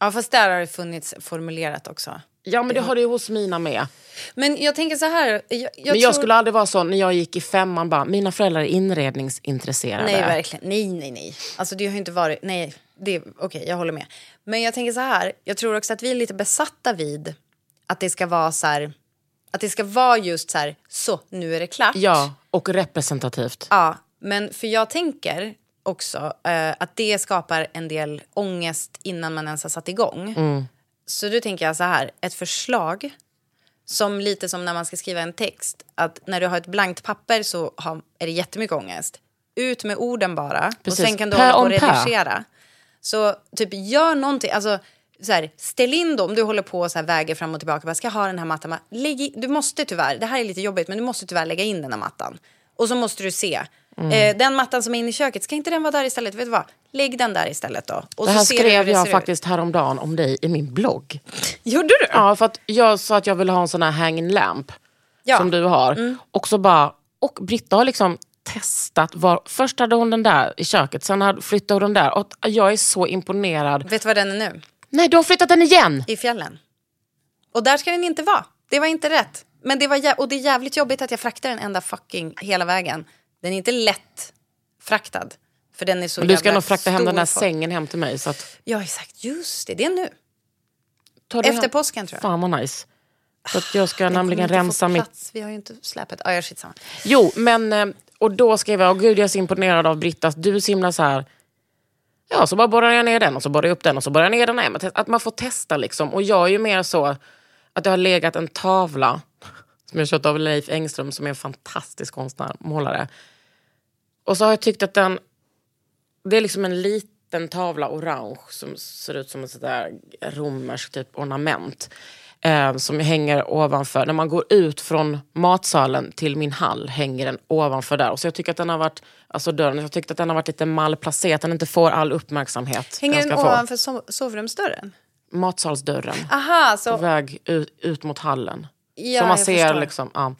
Speaker 2: ja, fast där har det funnits formulerat också.
Speaker 1: Ja men det har det ju hos mina med.
Speaker 2: Men jag tänker så här. Jag, jag
Speaker 1: men jag
Speaker 2: tror-
Speaker 1: skulle aldrig vara sån när jag gick i femman bara, mina föräldrar är inredningsintresserade.
Speaker 2: Nej, verkligen. Nej, nej, nej. Alltså det har ju inte varit... Nej, det okej, jag håller med. Men jag tänker så här, jag tror också att vi är lite besatta vid att det ska vara så här... Att det ska vara just så här, så, nu är det klart.
Speaker 1: Ja, och representativt.
Speaker 2: Ja, men för jag tänker också eh, att det skapar en del ångest innan man ens har satt igång.
Speaker 1: Mm.
Speaker 2: Så då tänker jag så här, ett förslag som lite som när man ska skriva en text, att när du har ett blankt papper så har, är det jättemycket ångest. Ut med orden bara
Speaker 1: Precis.
Speaker 2: och sen kan du
Speaker 1: Pä
Speaker 2: hålla på och
Speaker 1: om pä.
Speaker 2: redigera. Så typ gör någonting, alltså så här, ställ in dem, du håller på och så här väger fram och tillbaka, bara, ska jag ha den här mattan? Bara, Lägg i, du måste tyvärr, det här är lite jobbigt, men du måste tyvärr lägga in den här mattan. Och så måste du se,
Speaker 1: Mm.
Speaker 2: eh, den mattan som är inne i köket, ska inte den vara där istället? Vet du vad? Lägg den där istället då. Och
Speaker 1: det här
Speaker 2: ser du hur
Speaker 1: skrev
Speaker 2: det
Speaker 1: jag
Speaker 2: ser
Speaker 1: faktiskt häromdagen om dig i min blogg.
Speaker 2: Ut. Gjorde du?
Speaker 1: Ja, för att jag sa att jag ville ha en sån här hanging lamp
Speaker 2: Ja. Mm.
Speaker 1: som du har. Och så bara, och Britta har liksom testat. Var, först hade hon den där i köket, sen hade, flyttade hon den där. Och jag är så imponerad.
Speaker 2: Vet du vad den är nu?
Speaker 1: Nej, du har flyttat den igen!
Speaker 2: I fjällen. Och där ska den inte vara. Det var inte rätt. Men det var jä- och det är jävligt jobbigt att jag fraktade den enda fucking hela vägen. Den är inte lätt fraktad. För den är så
Speaker 1: Men du ska
Speaker 2: jävla
Speaker 1: nog frakta hem den där
Speaker 2: stor.
Speaker 1: sängen hem till mig. Så att,
Speaker 2: Ja, exakt. Just det. Det är nu.
Speaker 1: ta det
Speaker 2: Efter
Speaker 1: hem.
Speaker 2: påsken, tror jag.
Speaker 1: Fan vad nice. Så att jag ska
Speaker 2: Den kommer
Speaker 1: nämligen
Speaker 2: inte få
Speaker 1: rensa mitt
Speaker 2: plats. Vi har ju inte släpet. Ah, ja, skit samma.
Speaker 1: Jo, men eh, och då skrev jag, åh gud jag är så imponerad av Britta, du är så himla så här. Ja, så bara borrar jag ner den och så borrar jag upp den och så borrar jag ner den. Nej, men te- att man får testa liksom. Och jag är ju mer så att det har legat en tavla som jag köpt av Leif Engström som är en fantastisk konstnär, målare. Och så har jag tyckt att den, det är liksom en liten tavla orange som ser ut som ett sådär romerskt typ ornament. Eh, som hänger ovanför, när man går ut från matsalen till min hall hänger den ovanför där. Och så jag tycker att den har varit, alltså dörren, jag tyckte att den har varit lite malplacerad, att den inte får all uppmärksamhet.
Speaker 2: Hänger den
Speaker 1: ska få.
Speaker 2: ovanför sov- sovrumsdörren?
Speaker 1: Matsalsdörren
Speaker 2: Aha, så...
Speaker 1: på väg ut, ut mot hallen.
Speaker 2: Ja,
Speaker 1: så man
Speaker 2: jag
Speaker 1: ser
Speaker 2: förstår.
Speaker 1: liksom, ja.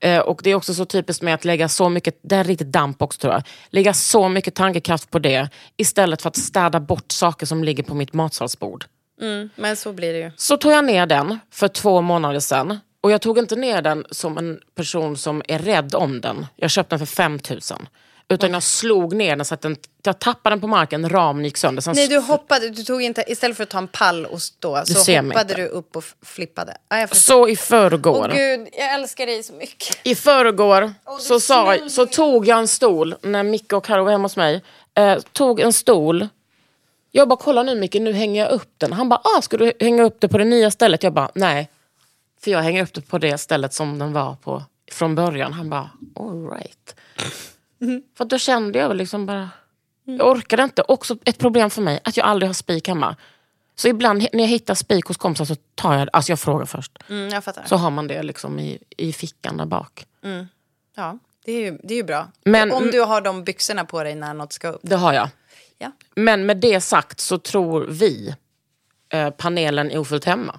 Speaker 1: Eh, och det är också så typiskt med att lägga så mycket, det här är riktigt damp också tror jag, lägga så mycket tankekraft på det istället för att städa bort saker som ligger på mitt matsalsbord.
Speaker 2: Men så blir det ju.
Speaker 1: Så tog jag ner den för två månader sedan. Och jag tog inte ner den som en person som är rädd om den. Jag köpte den för 5000. Utan jag slog ner den så att den, jag tappade den på marken, ramen gick sönder. Sen
Speaker 2: Nej, du hoppade. Du tog inte... Istället för att ta en pall och stå så
Speaker 1: ser mig
Speaker 2: hoppade
Speaker 1: inte.
Speaker 2: du upp och f- flippade. Ah, jag förstår.
Speaker 1: Så i förrgår.
Speaker 2: Åh gud, jag älskar dig så mycket.
Speaker 1: I förrgår
Speaker 2: du
Speaker 1: så, sa,
Speaker 2: snäll.
Speaker 1: så tog jag en stol när Micke och Karo var hemma hos mig. Eh, tog en stol. Jag bara, kolla nu Micke, nu hänger jag upp den. Han bara, ah, ska du hänga upp det på det nya stället? Jag bara, nej. För jag hänger upp det på det stället som den var på från början. Han bara,
Speaker 2: *laughs*
Speaker 1: alright. För då kände jag väl liksom bara,
Speaker 2: Mm.
Speaker 1: jag orkade inte. Också ett problem för mig, att jag aldrig har spik hemma. Så ibland när jag hittar spik hos kompisar så tar jag, alltså jag frågar först.
Speaker 2: Mm, jag fattar.
Speaker 1: Så har man det liksom i, i fickan där bak.
Speaker 2: Ja, det är ju, det är ju bra.
Speaker 1: Men-
Speaker 2: Om du har de byxorna på dig när något ska upp.
Speaker 1: Det har jag.
Speaker 2: Ja.
Speaker 1: Men med det sagt så tror vi, eh, panelen i Ofullt hemma,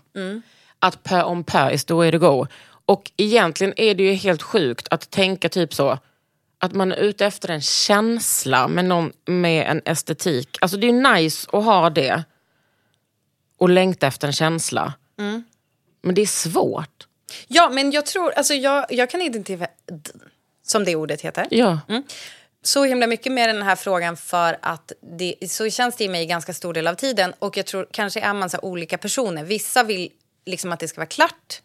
Speaker 1: att pö om pö is the way to go. Och egentligen är det ju helt sjukt att tänka typ så, att man är ute efter en känsla med, någon, med en estetik. Alltså det är ju nice att ha det och längta efter en känsla. Men det är svårt.
Speaker 2: Ja, men jag tror, alltså jag, jag kan identifiera, d- som det ordet heter,
Speaker 1: Ja.
Speaker 2: så himla mycket med den här frågan för att det, så känns det i mig ganska stor del av tiden och jag tror kanske är man så här olika personer. Vissa vill liksom att det ska vara klart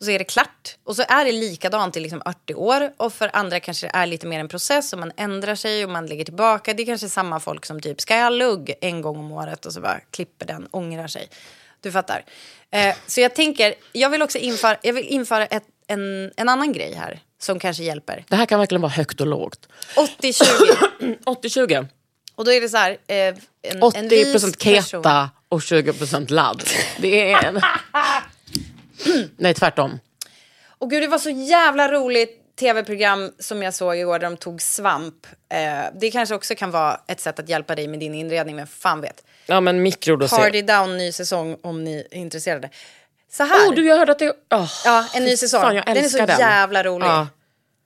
Speaker 2: och så är det klart och så är det likadant i liksom 80 år och för andra kanske det är lite mer en process och man ändrar sig och man lägger tillbaka. Det är kanske samma folk som typ ska jag ha lugg en gång om året och så bara klipper den, ångrar sig. Du fattar. Eh, så jag tänker, jag vill också införa, jag vill införa ett, en, en annan grej här som kanske hjälper.
Speaker 1: Det här kan verkligen vara högt och lågt. Mm,
Speaker 2: 80-20.
Speaker 1: 80-20.
Speaker 2: Och då är det så här... Eh, en, en
Speaker 1: 80
Speaker 2: vis
Speaker 1: procent keta
Speaker 2: person. *clears throat*
Speaker 1: och 20 procent ladd. Det är en... Nej, tvärtom.
Speaker 2: Och gud, det var så jävla roligt tv-program som jag såg igår där de tog svamp. Eh, det kanske också kan vara ett sätt att hjälpa dig med din inredning, men fan vet.
Speaker 1: Ja, men mikrodosering.
Speaker 2: Party Down, ny säsong om ni är intresserade. Så här.
Speaker 1: Oh, du, jag hörde att det... åh,
Speaker 2: Ja,
Speaker 1: fy
Speaker 2: en ny säsong.
Speaker 1: Fan, jag
Speaker 2: den är så
Speaker 1: älskar den.
Speaker 2: jävla rolig.
Speaker 1: Ja.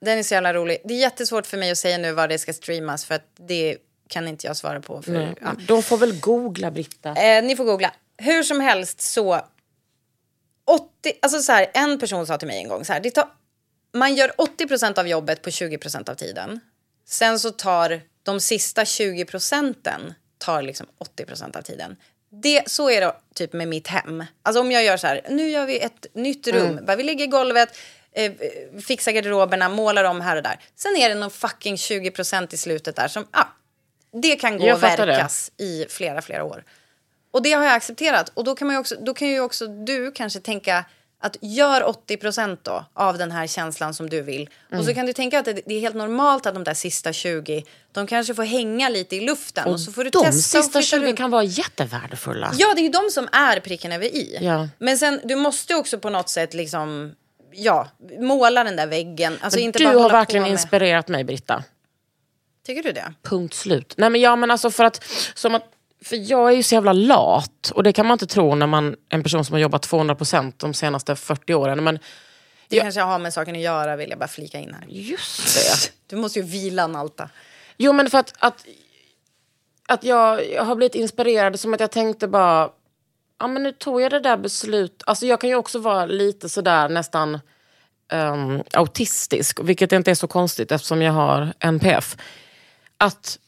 Speaker 2: Den är så jävla rolig. Det är jättesvårt för mig att säga nu var det ska streamas för att det kan inte jag svara på. För, ja.
Speaker 1: De får väl googla, Britta.
Speaker 2: Eh, ni får googla. Hur som helst så... 80, alltså så här, en person sa till mig en gång så här, det tar, man gör 80 av jobbet på 20 av tiden. Sen så tar de sista 20 procenten tar liksom 80 av tiden. Det, så är det typ med mitt hem. Alltså om jag gör så här, nu gör vi ett nytt rum. Bara, vi lägger golvet, eh, fixar garderoberna, målar om här och där. Sen är det någon fucking 20 i slutet där som, ja, det kan gå
Speaker 1: Jag
Speaker 2: att
Speaker 1: fattar det.
Speaker 2: verkas i flera, flera år. Och det har jag accepterat. Och då kan, man ju också, då kan ju också du kanske tänka att gör 80 då av den här känslan som du vill. Och
Speaker 1: Mm.
Speaker 2: så kan du tänka att det, det är helt normalt att de där sista 20, de kanske får hänga lite i luften. Och, så får du
Speaker 1: De
Speaker 2: testa och
Speaker 1: sista
Speaker 2: flytta
Speaker 1: 20
Speaker 2: runt.
Speaker 1: kan vara jättevärdefulla.
Speaker 2: Ja, det är ju de som är pricken över i.
Speaker 1: Ja.
Speaker 2: Men sen, du måste också på något sätt liksom, ja, måla den där väggen. Alltså, inte
Speaker 1: du
Speaker 2: bara
Speaker 1: har
Speaker 2: hålla på
Speaker 1: verkligen
Speaker 2: med-
Speaker 1: inspirerat mig, Britta.
Speaker 2: Tycker du det?
Speaker 1: Punkt slut. Nej men ja men alltså för att, som att för jag är ju så jävla lat och det kan man inte tro när man en person som har jobbat 200% de senaste 40 åren. Men
Speaker 2: Det kanske har med saken att göra vill jag bara flika in här.
Speaker 1: just det.
Speaker 2: Du måste ju vila Nalta.
Speaker 1: Jo men för att, att, att jag, jag har blivit inspirerad som att jag tänkte bara, ja men nu tog jag det där beslutet. Alltså jag kan ju också vara lite sådär nästan ehm, autistisk, vilket inte är så konstigt eftersom jag har NPF. Att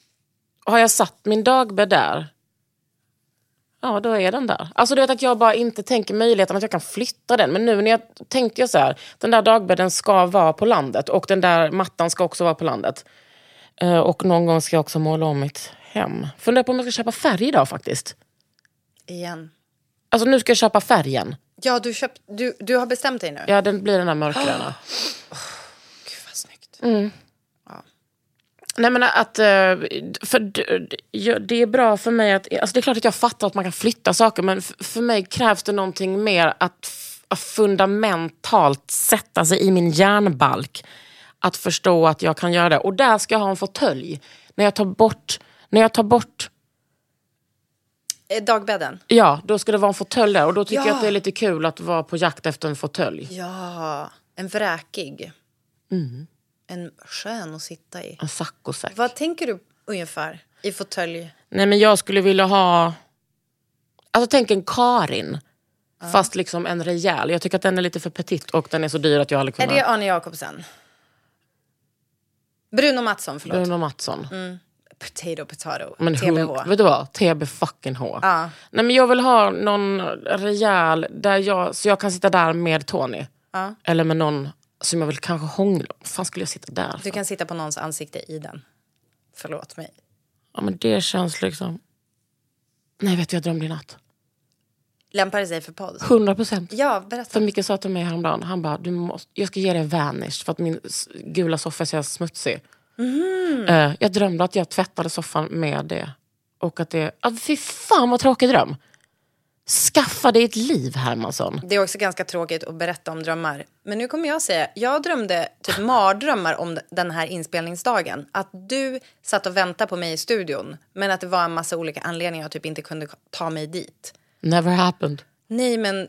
Speaker 1: har jag satt min dagbädd där, ja då är den där. Alltså du vet att jag bara inte tänker möjligheten att jag kan flytta den. Men nu när jag tänkte jag så här, den där dagbädden ska vara på landet och den där mattan ska också vara på landet. Eh, Och någon gång ska jag också måla om mitt hem. Funderar på om jag ska köpa färg idag faktiskt.
Speaker 2: Igen.
Speaker 1: Alltså nu ska jag köpa färgen.
Speaker 2: Ja, du, köpt, du, du har bestämt dig nu?
Speaker 1: Ja, den blir den där mörkgröna.
Speaker 2: Gud vad snyggt.
Speaker 1: *gasps* Nej men att, eh, för d- d- jag- det är bra för mig att, alltså det är klart att jag fattar att man kan flytta saker men f- för mig krävs det någonting mer att f- att fundamentalt sätta sig i min hjärnbalk. Att förstå att jag kan göra det. Och där ska jag ha en fåtölj. När jag tar bort, när jag tar bort
Speaker 2: Eh, Dagbädden?
Speaker 1: Ja, då ska det vara en fåtölj där. Och då tycker
Speaker 2: Ja.
Speaker 1: jag att det är lite kul att vara på jakt efter en fåtölj.
Speaker 2: Ja, en vräkig.
Speaker 1: Mm.
Speaker 2: En skön att sitta i.
Speaker 1: En saccosäck.
Speaker 2: Vad tänker du ungefär i fåtölj?
Speaker 1: Nej men jag skulle vilja ha... Alltså tänk en Karin. Fast liksom en rejäl. Jag tycker att den är lite för petit och den är så dyr att jag aldrig
Speaker 2: Är
Speaker 1: kunnat.
Speaker 2: det Arne Jacobsen? Bruno Mattsson, förlåt.
Speaker 1: Bruno Mattsson.
Speaker 2: Mm, Potato, potato.
Speaker 1: Men
Speaker 2: TBH.
Speaker 1: hon, vet du vad? TB fucking H.
Speaker 2: Ja.
Speaker 1: Nej men jag vill ha någon rejäl där jag, så jag kan sitta där med Tony.
Speaker 2: Ja.
Speaker 1: Eller med någon som jag vill kanske hångla. Vad fan skulle jag sitta där
Speaker 2: Du
Speaker 1: för?
Speaker 2: kan sitta på någons ansikte i den. Förlåt mig.
Speaker 1: Ja men det känns liksom... Nej vet du, jag drömde i natt.
Speaker 2: Lämpar det sig för podd?
Speaker 1: 100 procent.
Speaker 2: Ja,
Speaker 1: För
Speaker 2: berätta.
Speaker 1: Micke sa till mig häromdagen, han bara, du måste, jag ska ge dig en vanish för att min s- gula soffa är så jävla smutsig.
Speaker 2: Mhm.
Speaker 1: Eh, jag drömde att jag tvättade soffan med det. Och att det, ah, fy fan vad tråkig dröm. Skaffa dig ett liv Hermansson.
Speaker 2: Det är också ganska tråkigt att berätta om drömmar. Men nu kommer jag säga, jag drömde typ mardrömmar om den här inspelningsdagen. Att du satt och väntade på mig i studion. Men att det var en massa olika anledningar jag typ inte kunde ta mig dit.
Speaker 1: Never happened.
Speaker 2: Nej men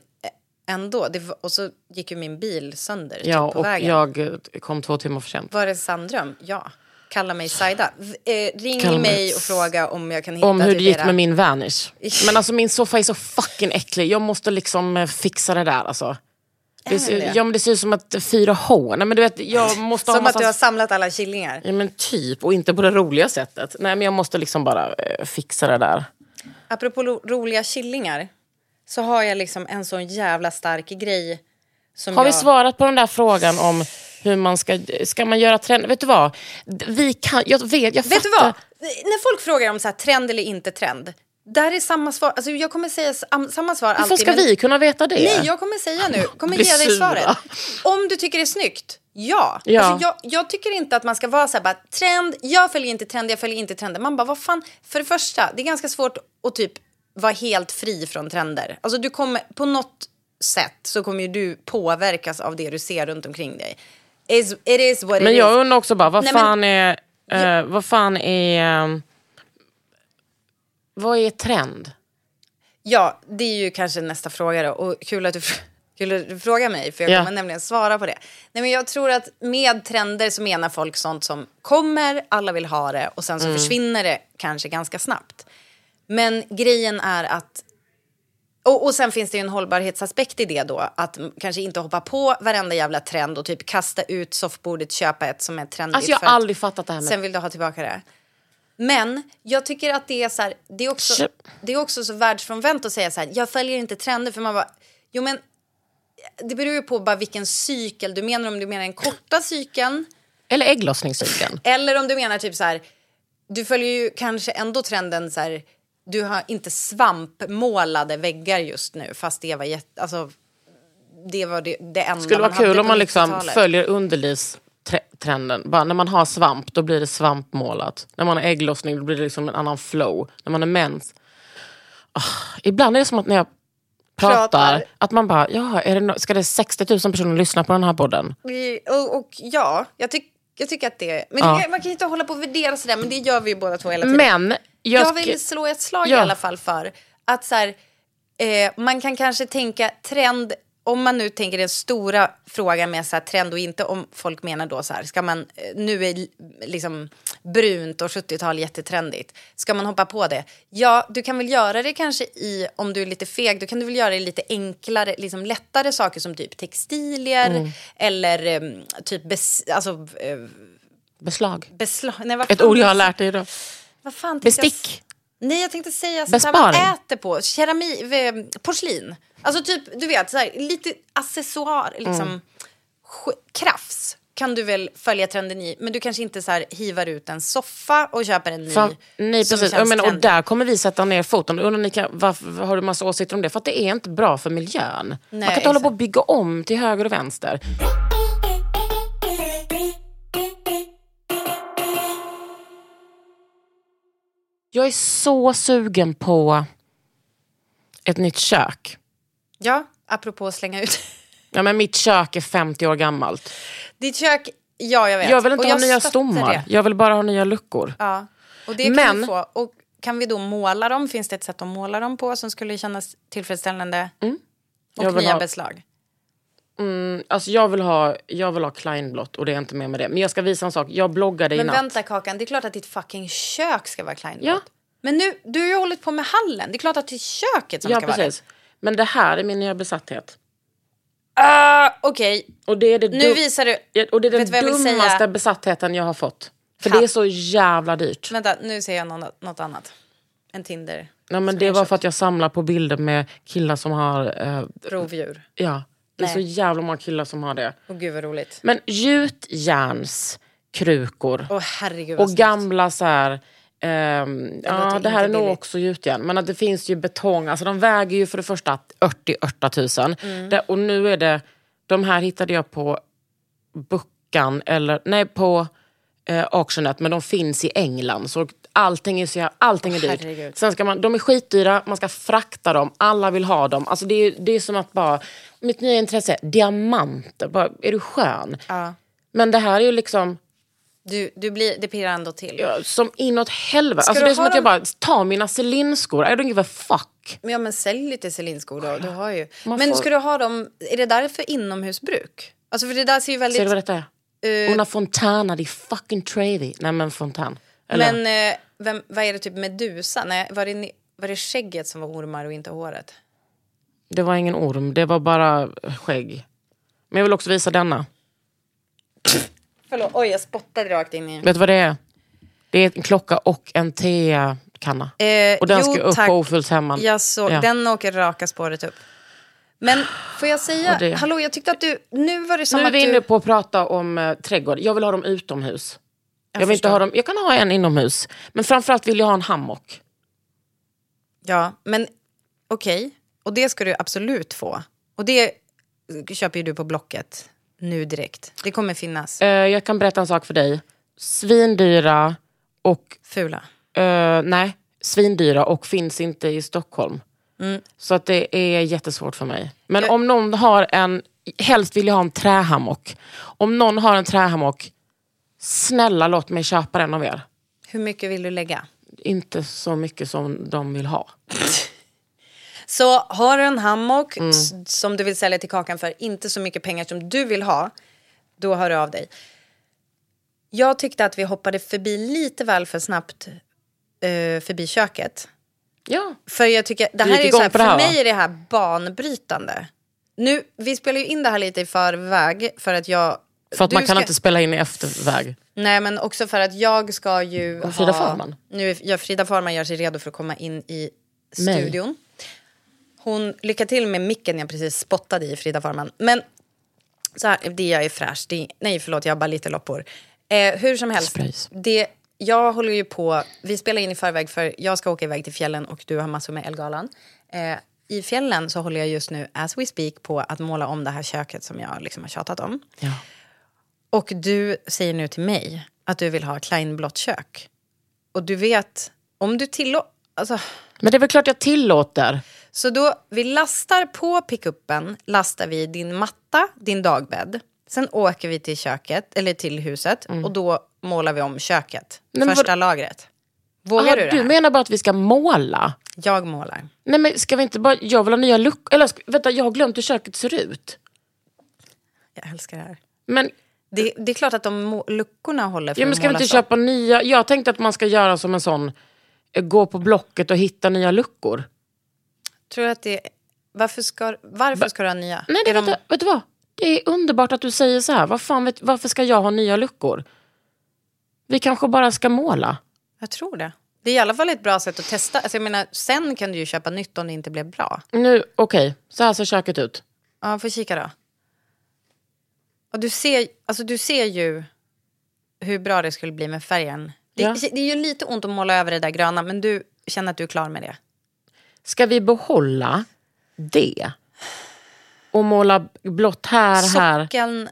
Speaker 2: ändå. Det var, och så gick ju min bil sönder
Speaker 1: Ja,
Speaker 2: typ på
Speaker 1: och
Speaker 2: vägen.
Speaker 1: jag eh, kom två timmar för sent.
Speaker 2: Var det sanddröm? Ja. Kalla mig Saida. V- Eh, ring
Speaker 1: Kalla mig
Speaker 2: mig och fråga om jag kan hitta
Speaker 1: Om hur det
Speaker 2: typ
Speaker 1: gick
Speaker 2: era-
Speaker 1: med min
Speaker 2: *laughs*
Speaker 1: vanish. Men alltså min soffa är så fucking äcklig. Jag måste liksom eh, fixa det där alltså. Det,
Speaker 2: den det?
Speaker 1: ser- ja, men det ser ut som att 4H. Nej, men du vet, jag måste ha
Speaker 2: Som att
Speaker 1: massa
Speaker 2: du har samlat alla killingar.
Speaker 1: Ja men typ, och inte på det roliga sättet. Nej men jag måste liksom bara eh, fixa det där.
Speaker 2: Apropå ro- roliga killingar så har jag liksom en sån jävla stark grej. Som
Speaker 1: Har vi
Speaker 2: jag...
Speaker 1: svarat på den där frågan om hur man ska, ska man göra trend? Vet du vad? D- Vi kan, jag vet, jag
Speaker 2: Vet du
Speaker 1: fattar.
Speaker 2: vad? När folk frågar om så här, trend eller inte trend. Där är samma svar. Alltså, jag kommer säga s- am- samma svar
Speaker 1: Varför
Speaker 2: alltid.
Speaker 1: ska
Speaker 2: men-
Speaker 1: vi kunna veta det?
Speaker 2: Nej, jag kommer säga
Speaker 1: *laughs*
Speaker 2: nu. kommer
Speaker 1: Blir
Speaker 2: ge dig
Speaker 1: sura.
Speaker 2: svaret. Om du tycker det är snyggt, ja.
Speaker 1: Ja.
Speaker 2: Alltså, jag, jag tycker inte att man ska vara så här bara trend, jag följer inte trend, jag följer inte trender. Man bara, vad fan. För det första, det är ganska svårt att typ vara helt fri från trender. Alltså du kommer på något sätt så kommer ju du påverkas av det du ser runt omkring dig. Is, it is what
Speaker 1: Men
Speaker 2: it
Speaker 1: jag
Speaker 2: is.
Speaker 1: undrar också bara, vad
Speaker 2: Nej, men-
Speaker 1: fan är... eh, vad fan är... eh, vad är trend?
Speaker 2: Ja, det är ju kanske nästa fråga då. Och kul att du, fr- *laughs* kul att du frågar mig, för jag
Speaker 1: Ja.
Speaker 2: kommer nämligen svara på det. Nej, men jag tror att med trender så menar folk sånt som kommer, alla vill ha det och
Speaker 1: Mm.
Speaker 2: sen så försvinner det kanske ganska snabbt. Men grejen är att... Och, och sen finns det ju en hållbarhetsaspekt i det då. Att m- kanske inte hoppa på varenda jävla trend och typ kasta ut soffbordet, köpa ett som är trendigt.
Speaker 1: Alltså jag
Speaker 2: för
Speaker 1: har
Speaker 2: att-
Speaker 1: aldrig fattat det här med...
Speaker 2: Sen vill du ha tillbaka det. Men jag tycker att det är så här, det är också,
Speaker 1: Shit.
Speaker 2: det är också så världsfrånvänt att säga så här, jag följer inte trender för man bara, jo men det beror ju på bara vilken cykel du menar, om du menar den korta cykeln
Speaker 1: Eller ägglossningscykeln.
Speaker 2: eller om du menar typ så här, du följer ju kanske ändå trenden så här, du har inte svampmålade väggar just nu fast det var jätte, alltså det var det, det enda
Speaker 1: skulle vara
Speaker 2: man hade
Speaker 1: kul om
Speaker 2: på
Speaker 1: man liksom
Speaker 2: 90-talet.
Speaker 1: följer underlivstrenden. Bara när man har svamp, då blir det svampmålat. När man har ägglossning, då blir det liksom en annan flow. När man har mens. Ah, ibland är det som att när jag pratar,
Speaker 2: Pratar.
Speaker 1: att man bara, ja, är det no- ska det 60 000 personer lyssna på den här podden?
Speaker 2: Vi- Och, och ja, jag, tyck, jag tycker att det... Men
Speaker 1: Ja.
Speaker 2: det, man kan ju inte hålla på och värdera sådär, men det gör vi ju båda två hela tiden.
Speaker 1: Men, jag,
Speaker 2: jag,
Speaker 1: sk-
Speaker 2: vill slå ett slag i
Speaker 1: Ja.
Speaker 2: alla fall för att så här, eh, man kan kanske tänka trend, om man nu tänker den stora frågan med så här, trend och inte om folk menar då så här, ska man, eh, nu är li- liksom brunt och 70-tal jättetrendigt, ska man hoppa på det? Ja, du kan väl göra det kanske i, om du är lite feg, då kan du väl göra det i lite enklare, liksom lättare saker som typ textilier
Speaker 1: Mm.
Speaker 2: eller eh, typ bes, alltså, eh,
Speaker 1: beslag.
Speaker 2: beslag, nej, vad
Speaker 1: Ett
Speaker 2: fan-
Speaker 1: ord jag har lärt dig idag.
Speaker 2: vad fan tänkte jag
Speaker 1: Bestick.
Speaker 2: Nej, jag tänkte säga sådär man
Speaker 1: Besparing.
Speaker 2: äter på. Kerami, v- porslin. Alltså typ, du vet, såhär, lite accessoar,
Speaker 1: Mm.
Speaker 2: liksom. Sk- Krafs kan du väl följa trenden i, men du kanske inte så hivar ut en soffa och köper en ny.
Speaker 1: Fan, nej,
Speaker 2: som
Speaker 1: precis.
Speaker 2: känns
Speaker 1: Jag menar, och
Speaker 2: trendig.
Speaker 1: där kommer vi sätta ner foten. Undrar ni kan, varför har du massa åsikter om det? För att det är inte bra för miljön. Man kan inte hålla på och bygga om till höger och vänster. Jag är så sugen på ett nytt kök.
Speaker 2: Ja, apropå att slänga ut. *laughs*
Speaker 1: Ja, men mitt kök är 50 år gammalt.
Speaker 2: Ditt kök, ja jag vet.
Speaker 1: Jag vill
Speaker 2: Och
Speaker 1: inte ha nya
Speaker 2: stöttar
Speaker 1: stommar.
Speaker 2: det.
Speaker 1: Jag vill bara ha nya luckor.
Speaker 2: Ja. Och det kan
Speaker 1: Men-
Speaker 2: vi få. Och kan vi då måla dem? Finns det ett sätt att måla dem på som skulle kännas tillfredsställande?
Speaker 1: Mm. Jag
Speaker 2: Och
Speaker 1: vill
Speaker 2: nya
Speaker 1: ha-
Speaker 2: beslag.
Speaker 1: Alltså jag vill ha, jag vill ha kleinblått och det är inte mer med det. Men jag ska visa en sak. Jag bloggade i
Speaker 2: Men
Speaker 1: natt.
Speaker 2: vänta Kakan, det är klart att ditt fucking kök ska vara kleinblått.
Speaker 1: Ja.
Speaker 2: Men nu, du har ju hållit på med hallen. Det är klart att det är köket som
Speaker 1: ja,
Speaker 2: ska
Speaker 1: precis. Men det här är min nya besatthet.
Speaker 2: vara det. Uh, Okej,
Speaker 1: Och det är det
Speaker 2: nu
Speaker 1: dum-
Speaker 2: visar du.
Speaker 1: Ja, Och det är den
Speaker 2: Vet du vad jag vill säga?
Speaker 1: dummaste besattheten jag har fått. För
Speaker 2: Katt.
Speaker 1: det är så jävla dyrt.
Speaker 2: Vänta, nu ser jag något, något annat. En Tinder.
Speaker 1: Nej, men det var för att jag samlar på bilder med killar som har... Eh,
Speaker 2: Rovdjur.
Speaker 1: ja, det är
Speaker 2: Nej.
Speaker 1: så jävla många killar som har det.
Speaker 2: Åh gud vad roligt.
Speaker 1: Men gjutjärnskrukor.
Speaker 2: Åh herregud vad
Speaker 1: Och
Speaker 2: snyggt.
Speaker 1: gamla så här... ehm, ja,
Speaker 2: låter
Speaker 1: det här är
Speaker 2: inte
Speaker 1: nog
Speaker 2: billigt.
Speaker 1: också gjutjärn. Men att det finns ju betong. Alltså de väger ju för det första 80-80 000.
Speaker 2: Mm.
Speaker 1: Det, och nu är det... De här hittade jag på Buckan, eller nej på eh, Auctionet, men de finns i England. Så allting är, så, jä- allting är dyrt.
Speaker 2: herregud.
Speaker 1: Sen ska man, de är skitdyra, man ska frakta dem, alla vill ha dem. Alltså det, är, det är som att bara, mitt nya intresse, diamanter, bara, är du skön? Men det här är ju liksom,
Speaker 2: Du, du blir, det pirrar ändå till.
Speaker 1: ja, som inåt helvete.
Speaker 2: Ska
Speaker 1: Alltså
Speaker 2: du
Speaker 1: det är som
Speaker 2: ha
Speaker 1: att jag
Speaker 2: dem-
Speaker 1: bara, ta mina Celine-skor, I don't give a fuck.
Speaker 2: Men, ja, men sälj lite Celine-skor då. Du har ju.
Speaker 1: Man
Speaker 2: Men
Speaker 1: får-
Speaker 2: ska du ha dem, är det därför inomhusbruk? Alltså för det där ser ju väldigt...
Speaker 1: Ser du vad detta är?
Speaker 2: eh,
Speaker 1: Una Fontana di fucking Travi. Nej men Fontan. Eller?
Speaker 2: Men eh, vem, vad är det typ Medusa? Nej, var det, ni- var det skägget som var ormar och inte håret?
Speaker 1: Det var ingen orm, det var bara skägg. Men jag vill också visa denna.
Speaker 2: Förlåt, oj jag spottade rakt in i...
Speaker 1: Vet du vad det är? Det är en klocka och en tekanna.
Speaker 2: Eh,
Speaker 1: och den ska
Speaker 2: jo,
Speaker 1: upp
Speaker 2: tack.
Speaker 1: på Ofullshemman.
Speaker 2: Jag såg,
Speaker 1: Ja.
Speaker 2: den åker raka spåret upp. Men får jag säga,
Speaker 1: Och det-
Speaker 2: hallå jag tyckte att du, nu var det som
Speaker 1: Nu är
Speaker 2: att
Speaker 1: vi
Speaker 2: du...
Speaker 1: inne på att prata om eh, trädgård. Jag vill ha dem utomhus. Jag, vill inte
Speaker 2: förstår.
Speaker 1: ha dem, jag kan ha en inomhus. Men framförallt vill jag ha en hammock.
Speaker 2: Ja, men okej. Och det ska du absolut få. Och det köper ju du på Blocket nu direkt. Det kommer finnas.
Speaker 1: Eh, jag kan berätta en sak för dig. Svindyra och...
Speaker 2: Fula.
Speaker 1: eh, nej, svindyra och finns inte i Stockholm.
Speaker 2: Mm.
Speaker 1: Så att det är jättesvårt för mig. Men om någon har en, helst vill jag ha en trähammock. Om någon har en trähammock, snälla låt mig köpa den av er.
Speaker 2: Hur mycket vill du lägga?
Speaker 1: Inte så mycket som de vill ha.
Speaker 2: Så har du en hammock
Speaker 1: Mm.
Speaker 2: s- som du vill sälja till Kakan för inte så mycket pengar som du vill ha, då hör du av dig. Jag tyckte att vi hoppade förbi lite väl för snabbt eh, förbi köket.
Speaker 1: Ja.
Speaker 2: För jag tycker, det
Speaker 1: Du
Speaker 2: här
Speaker 1: gick
Speaker 2: är ju
Speaker 1: igång
Speaker 2: så här,
Speaker 1: på det här,
Speaker 2: för
Speaker 1: va?
Speaker 2: mig är det här banbrytande. Nu, vi spelar ju in det här lite i förväg för att jag...
Speaker 1: För att
Speaker 2: du
Speaker 1: man kan
Speaker 2: ska-
Speaker 1: inte spela in i efterväg.
Speaker 2: Nej men också för att jag ska ju
Speaker 1: Och Frida
Speaker 2: ha...
Speaker 1: Farman.
Speaker 2: Nu är, ja, Frida Farman gör sig redo för att komma in i
Speaker 1: Mig.
Speaker 2: studion. Hon, lycka till med micken jag precis spottade i Frida Farman. Men så här, det jag är fräsch. Det, nej förlåt, jag har bara lite loppor. Eh, hur som helst.
Speaker 1: Sprays.
Speaker 2: Det, jag håller ju på, vi spelar in i förväg för jag ska åka iväg till fjällen och du har massor med Elgalan. Eh, I fjällen så håller jag just nu, as we speak, på att måla om det här köket som jag liksom har tjatat om.
Speaker 1: Ja.
Speaker 2: Och du säger nu till mig att du vill ha kleinblått kök. Och du vet, om du tillåter... Alltså,
Speaker 1: Men det är väl klart jag tillåter.
Speaker 2: så då, vi lastar på pickuppen, lastar vi din matta, din dagbädd. Sen åker vi till köket, eller till huset, och då målar vi om köket.
Speaker 1: Nej, Mm. men
Speaker 2: första lagret. Vågar
Speaker 1: Ah,
Speaker 2: du det
Speaker 1: du
Speaker 2: här?
Speaker 1: menar bara att vi ska måla?
Speaker 2: Jag målar.
Speaker 1: Nej men ska vi inte bara, jag vill ha nya luckor. Eller ska- vänta, jag har glömt hur köket ser ut.
Speaker 2: Jag älskar det här.
Speaker 1: Men,
Speaker 2: Det, det är klart att de må- luckorna håller för
Speaker 1: ja, men
Speaker 2: att
Speaker 1: ska vi
Speaker 2: målas
Speaker 1: inte
Speaker 2: om.
Speaker 1: köpa nya? Jag tänkte att man ska göra som en sån, eh, gå på Blocket och hitta nya luckor.
Speaker 2: Tror du att det... Varför ska, varför ska du ha nya?
Speaker 1: Nej, det,
Speaker 2: Är de-
Speaker 1: vet, du, vet du vad? Det är underbart att du säger så här. Vad fan vet, varför ska jag ha nya luckor? Vi kanske bara ska måla.
Speaker 2: Jag tror det. Det är i alla fall ett bra sätt att testa. Alltså jag menar, sen kan du ju köpa nytt om det inte blev bra.
Speaker 1: Nu, okej, så här ser köket ut.
Speaker 2: Ja, får kika då. Och du ser, alltså du ser ju hur bra det skulle bli med färgen. Det,
Speaker 1: Ja.
Speaker 2: det är ju lite ont att måla över det där gröna, men du känner att du är klar med det.
Speaker 1: Ska vi behålla det? Och måla blått här, här.
Speaker 2: Sockeln...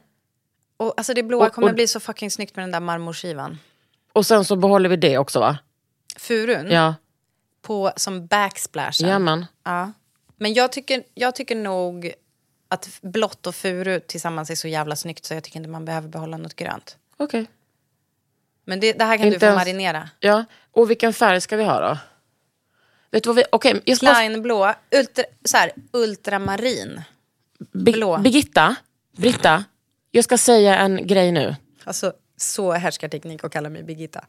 Speaker 2: Och, alltså det blåa
Speaker 1: Och-
Speaker 2: kommer
Speaker 1: och-
Speaker 2: bli så fucking snyggt med den där marmorskivan.
Speaker 1: Och sen så behåller vi det också va?
Speaker 2: Furun
Speaker 1: Ja,
Speaker 2: på, som backsplashen.
Speaker 1: jajamän.
Speaker 2: Ja. Men jag tycker, jag tycker nog att blått och furu tillsammans är så jävla snyggt så jag tycker inte man behöver behålla något grönt.
Speaker 1: Okej.
Speaker 2: Men det, det här kan
Speaker 1: Inte
Speaker 2: du få
Speaker 1: ens-
Speaker 2: marinera.
Speaker 1: Ja, och vilken färg ska vi ha då? Vet du vad vi... Okej, jag ska bara...
Speaker 2: Kleinblå, ultra, så här, ultramarin.
Speaker 1: Bi-
Speaker 2: blå.
Speaker 1: Birgitta, Britta, jag ska säga en grej nu.
Speaker 2: Alltså så härskarteknik och kalla mig Birgitta.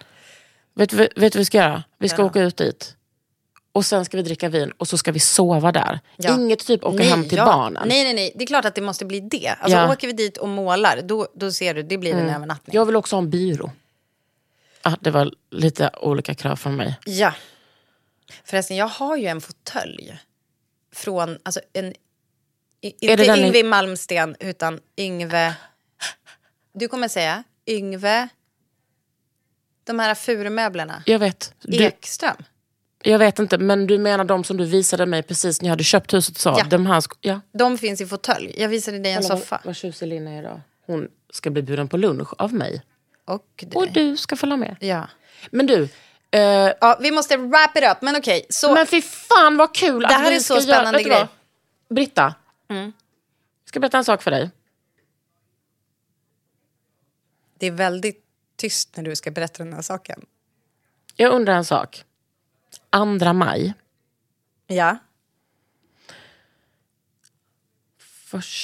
Speaker 1: Vet du vet du vad vi ska göra? Vi ska
Speaker 2: Ja.
Speaker 1: åka ut dit. Och sen ska vi dricka vin och så ska vi sova där.
Speaker 2: Ja.
Speaker 1: Inget typ åka hem till
Speaker 2: ja.
Speaker 1: barnen.
Speaker 2: Nej, nej, nej. Det är klart att det måste bli det. Alltså
Speaker 1: Ja. Mm.
Speaker 2: åker vi dit och målar, då, då ser du, det blir en övernattning.
Speaker 1: Jag vill också ha en byrå. Ah, det var lite olika krav från mig.
Speaker 2: Ja. Förresten, jag har ju en fåtölj. Från, alltså en... I,
Speaker 1: det
Speaker 2: inte
Speaker 1: den i-
Speaker 2: Yngve Malmsten, utan Yngve... Du kommer säga Yngve... De här furumöblerna.
Speaker 1: Jag vet. Du,
Speaker 2: Ekström.
Speaker 1: jag vet inte, men du menar de som du visade mig precis när jag hade köpt huset och sa.
Speaker 2: Ja.
Speaker 1: De här sk- ja.
Speaker 2: De finns i fåtölj. Jag visade dig en
Speaker 1: Kolla
Speaker 2: soffa.
Speaker 1: Vad, vad tjusig Lina är idag. Hon ska bli bjuden på lunch av mig.
Speaker 2: Och du.
Speaker 1: Och du ska följa med.
Speaker 2: Ja.
Speaker 1: Men du, eh,
Speaker 2: ja, vi måste wrap it up. Men okej, så...
Speaker 1: men fy fan vad kul att
Speaker 2: här
Speaker 1: vi
Speaker 2: är
Speaker 1: ska
Speaker 2: så spännande
Speaker 1: göra, vet du
Speaker 2: grej. Mm.
Speaker 1: vad? Britta, jag ska berätta en sak för dig.
Speaker 2: Det är väldigt tyst när du ska berätta den här saken.
Speaker 1: Jag undrar en sak. 2 maj,
Speaker 2: Ja.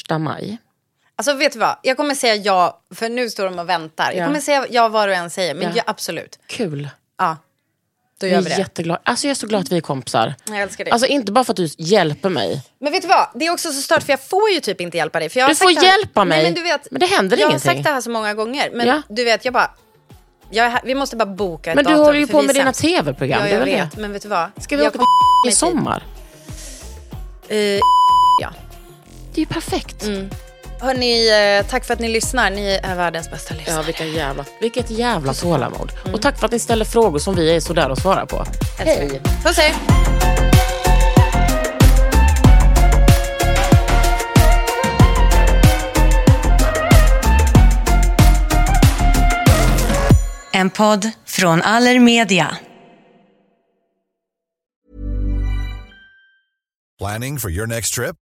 Speaker 1: 1 maj.
Speaker 2: Alltså vet du vad, jag kommer säga ja, för nu står de och väntar. Jag
Speaker 1: Ja.
Speaker 2: kommer säga ja var och en säger, men
Speaker 1: Ja.
Speaker 2: ja. absolut.
Speaker 1: Kul.
Speaker 2: Ja, då gör
Speaker 1: Jag
Speaker 2: vi
Speaker 1: är
Speaker 2: det.
Speaker 1: jätteglad. Alltså jag är så glad att vi är kompisar.
Speaker 2: Jag älskar dig.
Speaker 1: Alltså inte bara för att du hjälper mig.
Speaker 2: Men vet du vad, det är också så stört för jag får ju typ inte hjälpa dig. För jag har
Speaker 1: Du
Speaker 2: sagt
Speaker 1: får
Speaker 2: det här-
Speaker 1: hjälpa mig.
Speaker 2: Nej, men, du vet,
Speaker 1: Men det händer
Speaker 2: jag Jag har
Speaker 1: ingenting.
Speaker 2: sagt det här så många gånger, men
Speaker 1: Ja.
Speaker 2: du vet, jag bara... Jag är här, vi måste bara boka ett
Speaker 1: Men du
Speaker 2: datum,
Speaker 1: håller ju
Speaker 2: för
Speaker 1: på
Speaker 2: vi är
Speaker 1: med dina
Speaker 2: sämst.
Speaker 1: tv-program.
Speaker 2: Ja,
Speaker 1: det är
Speaker 2: jag
Speaker 1: väl
Speaker 2: vet,
Speaker 1: det.
Speaker 2: men vet du vad?
Speaker 1: Ska vi
Speaker 2: jag
Speaker 1: åka
Speaker 2: kommer-
Speaker 1: på i
Speaker 2: mig dit.
Speaker 1: sommar?
Speaker 2: Eh, ja.
Speaker 1: Det är ju perfekt.
Speaker 2: Hörni, eh, tack för att ni lyssnar. Ni är världens bästa lyssnare.
Speaker 1: Ja, vilka jävla, vilket jävla tålamod. Och tack för att ni ställer frågor som vi är så där att svara på.
Speaker 2: Mm. Älskar er. Puss hej!
Speaker 5: En podd från Allermedia.
Speaker 6: Planning for your next trip?